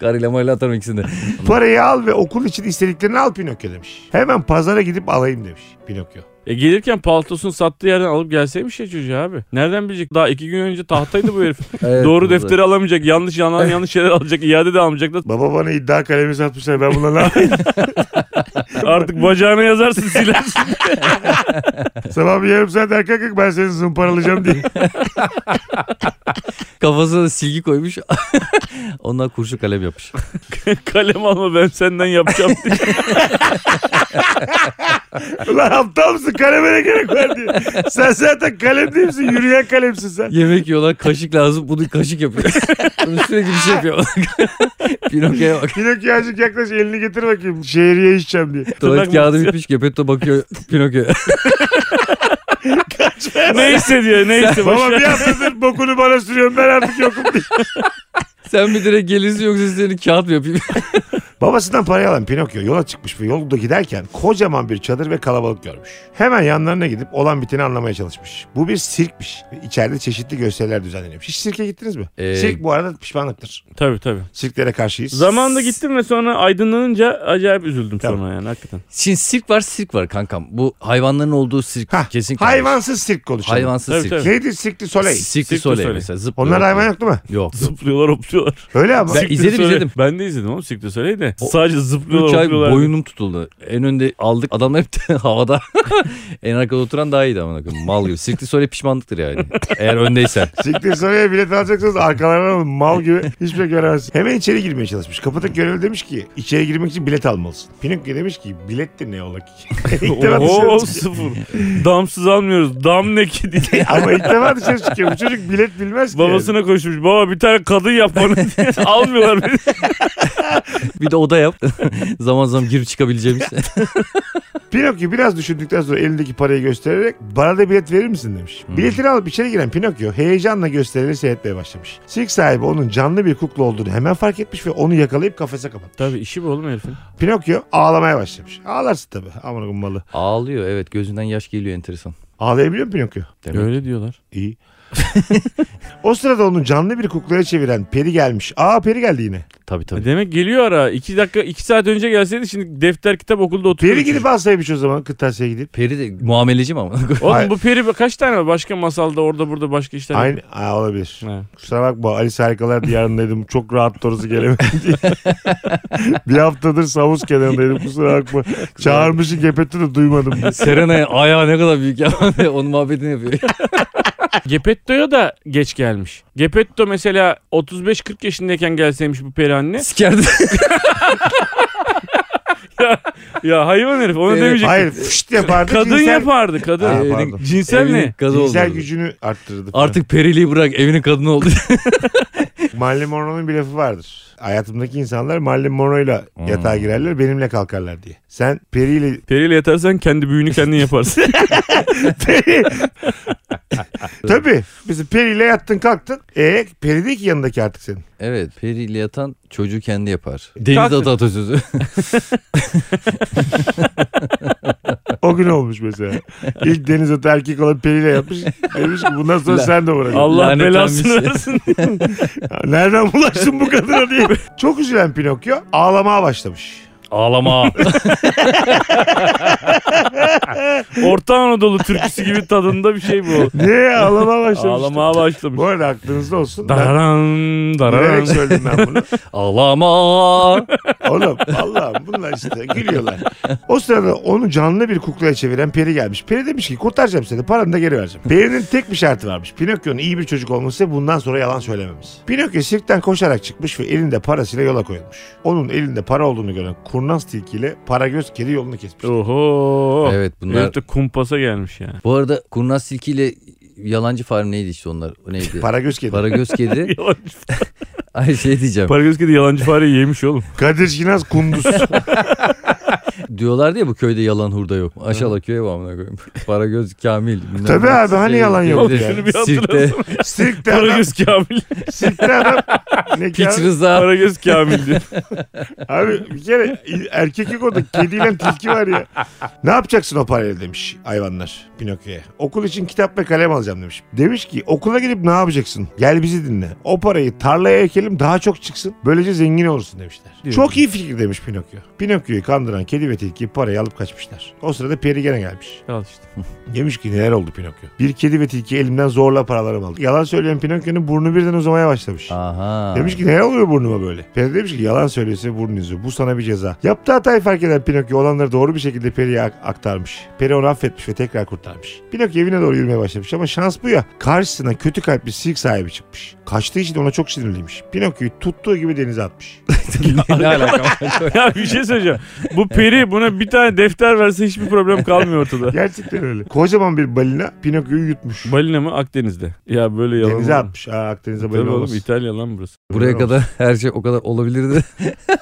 Speaker 3: Karıyla mayla atarım ikisini de.
Speaker 1: Parayı al ve okul için istediklerini al Pinokyo demiş. Hemen pazara gidip alayım demiş Pinokyo.
Speaker 2: E gelirken paltosunu sattığı yerden alıp gelseymiş ya çocuğu abi. Nereden bilecek? Daha iki gün önce tahtaydı bu herif. Doğru defteri alamayacak. Yanlış yalan yanlış şeyler alacak. iade de almayacak. Da.
Speaker 1: Baba bana iddia kalemi satmışlar ben bununla ne yapayım?
Speaker 2: Artık bacağına yazarsın silersin.
Speaker 1: Sabah bir yarım saat erken kalk ben seni zımparalayacağım diye.
Speaker 3: Kafasına da silgi koymuş. Ondan kurşun kalem yapmış.
Speaker 2: Kalem alma ben senden yapacağım diye.
Speaker 1: Ulan aptal mısın kaleme ne gerek var diye. Sen zaten kalem değil misin? Yürüyen kalemsin sen.
Speaker 3: Yemek yiyorlar kaşık lazım. Bunu kaşık yapıyor. Bunu sürekli bir şey yapıyor. Pinokyo'ya bak.
Speaker 1: Pinokyo azıcık yaklaş elini getir bakayım. Şehriye içeceğim diye.
Speaker 3: Tuvalet
Speaker 2: Tırnak
Speaker 3: kağıdı bitmiş. Gepetto bakıyor Pinokyo'ya.
Speaker 2: neyse diyor neyse.
Speaker 1: Baba
Speaker 2: Boş
Speaker 1: bir
Speaker 2: ver.
Speaker 1: haftadır bokunu bana sürüyorsun ben artık yokum diye.
Speaker 3: Sen bir direkt gelirsin yoksa seni kağıt mı yapayım?
Speaker 1: Babasından parayı alan Pinokyo yola çıkmış ve yolda giderken kocaman bir çadır ve kalabalık görmüş. Hemen yanlarına gidip olan biteni anlamaya çalışmış. Bu bir sirkmiş ve içeride çeşitli gösteriler düzenleniyormuş. Hiç sirke gittiniz mi?
Speaker 3: Ee,
Speaker 1: Sirk bu arada pişmanlıktır.
Speaker 2: Tabii tabii.
Speaker 1: Sirklere karşıyız.
Speaker 2: Zamanında gittim ve sonra aydınlanınca acayip üzüldüm
Speaker 1: Tamam.
Speaker 2: sonra yani hakikaten.
Speaker 3: Şimdi sirk var sirk var kankam. Bu hayvanların olduğu sirk
Speaker 1: Hah,
Speaker 3: kesin. kalmış.
Speaker 1: Hayvansız sirk konuşalım.
Speaker 3: Hayvansız
Speaker 2: Tabii,
Speaker 3: sirk.
Speaker 2: tabii.
Speaker 1: Neydi sirkli soley?
Speaker 3: Sirk du
Speaker 2: Sirk du
Speaker 3: Soleil
Speaker 2: Soleil.
Speaker 3: mesela zıplıyor.
Speaker 1: Onlar hayvan yok değil mi?
Speaker 3: Yok.
Speaker 2: Zıplıyorlar hopluyorlar.
Speaker 1: Öyle ama.
Speaker 3: Ben
Speaker 2: Cirque du
Speaker 3: izledim,
Speaker 2: Soleil-
Speaker 3: izledim.
Speaker 2: Ben de izledim oğlum Siktir Soleil'i de.
Speaker 3: O-
Speaker 2: Sadece
Speaker 3: 3
Speaker 2: zıplıyorlar
Speaker 3: ay
Speaker 2: hopluyorlar.
Speaker 3: boynum tutuldu. En önde aldık adamlar hep de havada. en arkada oturan daha iyiydi ama mal gibi. Sirkli Soleil pişmanlıktır yani. Eğer öndeysen.
Speaker 1: Siktir sonraya bilet alacaksanız arkalarına alın. Mal gibi hiçbir şey göremezsin. Hemen içeri girmeye çalışmış. Kapıdaki görevli demiş ki içeri girmek için bilet almalısın. Pinokyo demiş ki bilet de ne ola ki? ilk defa
Speaker 2: Oho
Speaker 1: dışarı çıkıyor.
Speaker 2: sıfır. Damsız almıyoruz. Dam ne ki diye.
Speaker 1: Ama ilk defa dışarı çıkıyor. Bu çocuk bilet bilmez ki. yani.
Speaker 2: Babasına koşmuş. Baba bir tane kadın yap bana diye. Almıyorlar beni.
Speaker 3: Bir de oda yap. zaman zaman girip çıkabileceğimiz.
Speaker 1: Pinokyo biraz düşündükten sonra elindeki parayı göstererek bana da bilet verir misin demiş. Biletini alıp içeri giren Pinokyo heyecanla gösterileri seyretmeye başlamış. Sirk sahibi onun canlı bir kukla olduğunu hemen fark etmiş ve onu yakalayıp kafese kapattı.
Speaker 2: Tabii işi bu oğlum herifin.
Speaker 1: Pinokyo ağlamaya başlamış. Ağlarsın tabii. Aman Allah'ım malı.
Speaker 3: Ağlıyor evet gözünden yaş geliyor enteresan.
Speaker 1: Ağlayabiliyor mu Pinokyo?
Speaker 3: Demek.
Speaker 2: Öyle diyorlar.
Speaker 1: İyi. O sırada onu canlı bir kuklaya çeviren peri gelmiş. Aa peri geldi yine.
Speaker 3: Tabii tabii.
Speaker 2: Demek geliyor ara. 2 dakika 2 saat önce gelseydi şimdi defter kitap okulda oturuyor.
Speaker 1: Peri gidip alsaymış o zaman kırtasiyeye gidip.
Speaker 3: Peri de muameleci mi ama?
Speaker 2: Oğlum bu peri kaç tane başka masalda orada burada başka işler.
Speaker 1: Aynı, Aa, olabilir.
Speaker 2: Ha.
Speaker 1: Kusura bakma Alice Harikalar diyarındaydım. Çok rahat doğrusu gelemedim diye. bir haftadır savuz kenarındaydım. Kusura bakma. Çağırmışın gepeti de duymadım. diye.
Speaker 3: Serena'ya ayağı ne kadar büyük ya. Onun muhabbetini yapıyor.
Speaker 2: Gepetto'ya da geç gelmiş. Gepetto mesela 35-40 yaşındayken gelseymiş bu peri anne.
Speaker 3: Sikerdi.
Speaker 2: ya hayvan herif onu
Speaker 3: Evet.
Speaker 2: demeyecek.
Speaker 1: Hayır fışt yapardı.
Speaker 2: Kadın
Speaker 1: cinsel,
Speaker 2: yapardı kadın.
Speaker 1: Ha,
Speaker 3: Evinin-
Speaker 1: pardon.
Speaker 2: Cinsel
Speaker 3: evinin
Speaker 2: ne?
Speaker 3: Gazı
Speaker 1: Cinsel
Speaker 3: oldu.
Speaker 1: gücünü arttırdı. falan.
Speaker 3: Artık periliği bırak evinin kadını oldu.
Speaker 1: Marilyn Monroe'nun bir lafı vardır. Hayatımdaki insanlar Marilyn Monroe'yla
Speaker 3: Hmm.
Speaker 1: yatağa girerler benimle kalkarlar diye. Sen periyle
Speaker 2: Periyle yatarsan kendi büyüğünü kendin yaparsın.
Speaker 1: peri. Tabii. Mesela periyle yattın kalktın. E peri değil ki yanındaki artık senin.
Speaker 3: evet periyle yatan çocuğu kendi yapar.
Speaker 2: Kalk-
Speaker 3: Deniz atı atasözü.
Speaker 1: O gün olmuş mesela. İlk deniz atı erkek olan periyle yapmış. Demiş ki bundan sonra
Speaker 3: La-
Speaker 1: sen de uğraşın.
Speaker 2: Allah
Speaker 3: Lanet
Speaker 2: belasını
Speaker 3: olmuş.
Speaker 2: versin.
Speaker 1: Nereden bulaştın bu kadına diye. Çok üzülen Pinokyo ağlamaya başlamış.
Speaker 3: Ağlama.
Speaker 2: Orta Anadolu türküsü gibi tadında bir şey bu.
Speaker 1: Niye ağlamaya başlamış?
Speaker 2: Ağlamaya başlamış.
Speaker 1: Bu arada aklınızda olsun. Ben
Speaker 2: Dararan dararan.
Speaker 1: bilerek söyledim ben bunu.
Speaker 3: Ağlama.
Speaker 1: Oğlum vallahi bunlar işte gülüyorlar. O sırada onu canlı bir kuklaya çeviren peri gelmiş. Peri demiş ki kurtaracağım seni paranı da geri vereceğim. Peri'nin tek bir şartı varmış. Pinokyo'nun iyi bir çocuk olması ve bundan sonra yalan söylememiz. Pinokyo sirkten koşarak çıkmış ve elinde parasıyla yola koyulmuş. Onun elinde para olduğunu gören kurnaz tilkiyle Paragöz kedi yolunu kesmiş.
Speaker 2: Oho. Evet,
Speaker 3: evet bunlar.
Speaker 2: de kumpasa gelmiş yani.
Speaker 3: Bu arada kurnaz silkiyle yalancı fare neydi işte onlar? O neydi?
Speaker 1: Paragöz kedi.
Speaker 3: Paragöz kedi.
Speaker 2: Yalancı.
Speaker 3: Ay şey diyeceğim.
Speaker 2: Paragöz kedi yalancı fareyi yemiş oğlum.
Speaker 1: Kadir Şinaz kunduz.
Speaker 3: Diyorlardı ya bu köyde yalan hurda yok. Aşağıla köye var amına koyayım. Paragöz Kamil. bilmem
Speaker 1: Tabii
Speaker 3: ne.
Speaker 1: abi, hani yalan yok
Speaker 3: evde,
Speaker 1: yani.
Speaker 2: Şunu bir
Speaker 3: Sirkte
Speaker 2: hatırlasana.
Speaker 1: Sirkte adam.
Speaker 2: Paragöz Kamil.
Speaker 1: Sirkte adam. Ne ki
Speaker 3: piç
Speaker 1: abi?
Speaker 3: rıza.
Speaker 2: Paragöz Kamil diyor.
Speaker 1: Abi bir kere erkek yok orada. Kediyle tilki var ya. Ne yapacaksın o parayla demiş hayvanlar Pinokyo'ya. Okul için kitap ve kalem alacağım demiş. Demiş ki okula gidip ne yapacaksın? Gel bizi dinle. O parayı tarlaya ekelim daha çok çıksın. Böylece zengin olursun demişler.
Speaker 2: Diyor.
Speaker 1: Çok iyi fikir demiş Pinokyo. Pinokyo'yu kandıran kedi ve tilki parayı alıp kaçmışlar. O sırada peri gene gelmiş.
Speaker 2: Al işte.
Speaker 1: Demiş ki neler oldu Pinokyo? Bir kedi ve tilki elimden zorla paralarımı aldı. Yalan söyleyen Pinokyo'nun burnu birden uzamaya başlamış.
Speaker 3: Aha.
Speaker 1: Demiş ki ne oluyor burnuma böyle? Peri demiş ki yalan söylüyorsa burnun yüzü. Bu sana bir ceza. Yaptığı hatayı fark eden Pinokyo olanları doğru bir şekilde Peri'ye ak- aktarmış. Peri onu affetmiş ve tekrar kurtarmış. Pinokyo evine doğru yürümeye başlamış ama şans bu ya. Karşısına kötü kalpli sirk sahibi çıkmış. Kaçtığı için ona çok sinirliymiş. Pinokyo'yu tuttuğu gibi denize atmış.
Speaker 3: ne alaka?
Speaker 2: Ya bir şey söyleyeceğim. Bu peri buna bir tane defter verse hiçbir problem kalmıyor ortada.
Speaker 1: Gerçekten öyle. Kocaman bir balina Pinokyo'yu yutmuş.
Speaker 2: Balina mı Akdeniz'de? Ya böyle yalan.
Speaker 1: Denize
Speaker 2: olur mu?
Speaker 1: atmış. Aa, Akdeniz'e
Speaker 2: Tabii
Speaker 1: balina
Speaker 2: oğlum
Speaker 1: olmaz.
Speaker 2: İtalya lan burası.
Speaker 3: Buraya kadar her şey o kadar olabilirdi.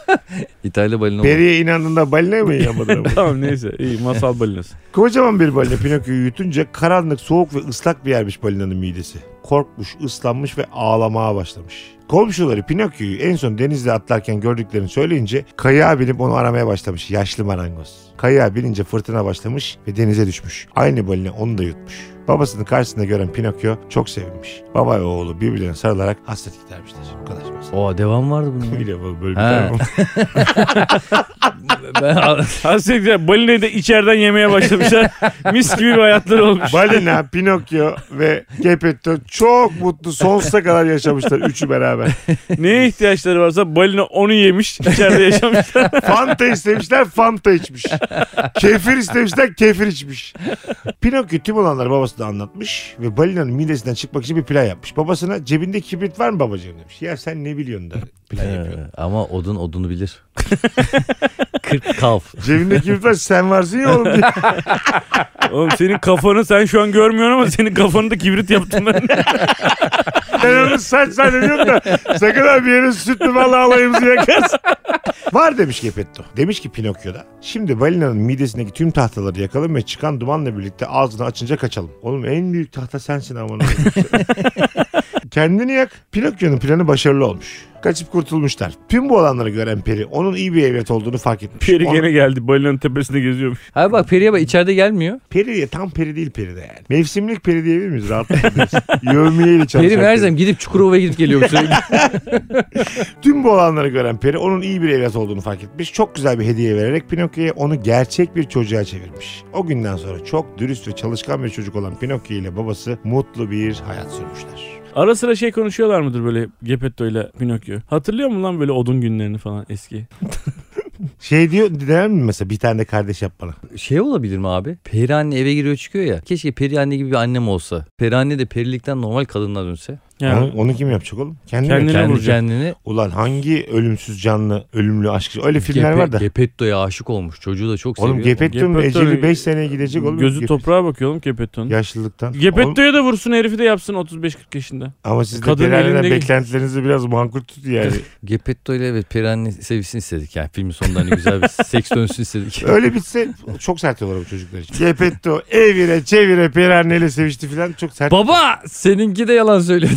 Speaker 3: İtalya balina oldu.
Speaker 1: Peri'ye inandığında balina mı yamadın?
Speaker 2: tamam neyse iyi masal balinası.
Speaker 1: Kocaman bir balina Pinokyo'yu yutunca karanlık, soğuk ve ıslak bir yermiş balinanın midesi. Korkmuş, ıslanmış ve ağlamaya başlamış. Komşuları Pinokyo'yu en son denizde atlarken gördüklerini söyleyince kayağa binip onu aramaya başlamış yaşlı marangoz. Kayağa binince fırtına başlamış ve denize düşmüş. Aynı balina onu da yutmuş. Babasını karşısında gören Pinokyo çok sevinmiş. Baba ve oğlu birbirlerine sarılarak hasret gidermişler. Bu kadar.
Speaker 3: Oha devam vardı bunun.
Speaker 1: Böyle böyle bir
Speaker 3: Ha.
Speaker 1: tane-
Speaker 3: ben
Speaker 2: Aslında balinayı da içeriden yemeye başlamışlar. Mis gibi bir hayatları olmuş.
Speaker 1: Balina, Pinokyo ve Gepetto çok mutlu sonsuza kadar yaşamışlar üçü beraber.
Speaker 2: Neye ihtiyaçları varsa balina onu yemiş. içeride yaşamış.
Speaker 1: Fanta istemişler Fanta içmiş. Kefir istemişler kefir içmiş. Pinokyo tüm olanları babasına anlatmış ve balinanın midesinden çıkmak için bir plan yapmış. Babasına cebinde kibrit var mı babacığım demiş. Ya sen ne biliyorsun da plan yapıyorsun.
Speaker 3: Ee, ama odun odunu bilir. 40 kalf.
Speaker 1: Cebinde kibrit var sen varsın ya oğlum diye.
Speaker 2: Oğlum senin kafanı sen şu an görmüyorsun ama senin kafanı da kibrit yaptım ben.
Speaker 1: Ben onu saç zannediyorum da sakın ha bir yere sütlü balı alayımızı yakarsın. Var demiş Gepetto. Demiş ki Pinokyo'da. Şimdi balinanın midesindeki tüm tahtaları yakalım ve çıkan dumanla birlikte ağzını açınca kaçalım. Oğlum en büyük tahta sensin ama. Kendini yak. Pinokyo'nun planı başarılı olmuş. Kaçıp kurtulmuşlar. Tüm bu olanları gören Peri onun iyi bir evlat olduğunu fark etmiş.
Speaker 2: Peri
Speaker 1: Onu-
Speaker 2: gene geldi. Balinanın tepesinde geziyormuş.
Speaker 3: Hayır bak Peri'ye bak içeride gelmiyor.
Speaker 1: Peri de tam peri değil peri de yani. Mevsimlik peri diyebilir miyiz? Rahatlayabiliriz. Yövmeyeli çalışan
Speaker 3: Peri Merzem gidip Çukurova'ya gidip geliyor sürekli.
Speaker 1: Tüm bu olanları gören peri onun iyi bir evlat olduğunu fark etmiş. Çok güzel bir hediye vererek Pinokyo'ya onu gerçek bir çocuğa çevirmiş. O günden sonra çok dürüst ve çalışkan bir çocuk olan Pinokyo ile babası mutlu bir hayat sürmüşler.
Speaker 2: Ara sıra şey konuşuyorlar mıdır böyle Gepetto ile Pinokyo? Hatırlıyor musun lan böyle odun günlerini falan eski?
Speaker 1: Şey diyor der mi mesela bir tane de kardeş yap bana.
Speaker 3: şey olabilir mi abi? Peri anne eve giriyor çıkıyor ya. Keşke peri anne gibi bir annem olsa. Peri anne de perilikten normal kadınlar dönse.
Speaker 2: Yani
Speaker 1: Onu, onu kim yapacak oğlum? Kendini
Speaker 2: Kendini-
Speaker 1: mi?
Speaker 3: Kendi
Speaker 2: vuracak?
Speaker 3: kendini
Speaker 1: Ulan hangi ölümsüz canlı ölümlü aşk öyle filmler
Speaker 3: Gepe-
Speaker 1: var da.
Speaker 3: Gepetto'ya aşık olmuş. Çocuğu da çok
Speaker 1: Oğlum
Speaker 3: seviyor.
Speaker 1: Gepetto'nun
Speaker 2: Gepetto-
Speaker 1: eceli 5 seneye gidecek oğlum.
Speaker 2: gözü
Speaker 1: Gep-
Speaker 2: toprağa bakıyor oğlum Gepetto'nun.
Speaker 1: Yaşlılıktan. Oğlum-
Speaker 2: Gepetto'ya da vursun herifi de yapsın 35-40 yaşında.
Speaker 1: Ama siz de
Speaker 2: Kadın
Speaker 1: Peren'den
Speaker 2: elinde-
Speaker 1: beklentilerinizi biraz mankul tutun yani.
Speaker 3: Gepetto ile evet peri anne sevsin istedik. Yani filmin sonunda hani güzel bir seks dönsün istedik.
Speaker 1: Öyle bitse çok sert olur bu çocuklar için. Gepetto evire çevire Peren'le sevişti falan çok sert.
Speaker 3: Baba seninki de yalan söyledi.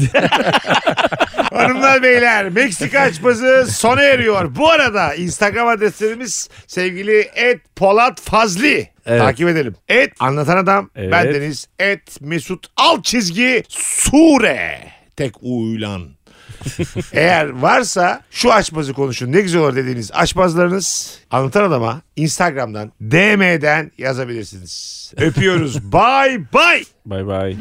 Speaker 1: Hanımlar beyler Meksika açması sona eriyor. Bu arada Instagram adreslerimiz sevgili et Polat Fazli.
Speaker 3: Evet.
Speaker 1: Takip edelim. Et anlatan adam.
Speaker 2: Evet.
Speaker 1: Bendeniz et Mesut alt çizgi sure. Tek uyulan. Eğer varsa şu açmazı konuşun ne güzel olur dediğiniz açmazlarınız anlatan adama Instagram'dan DM'den yazabilirsiniz. Öpüyoruz. bye bye.
Speaker 2: Bay bay.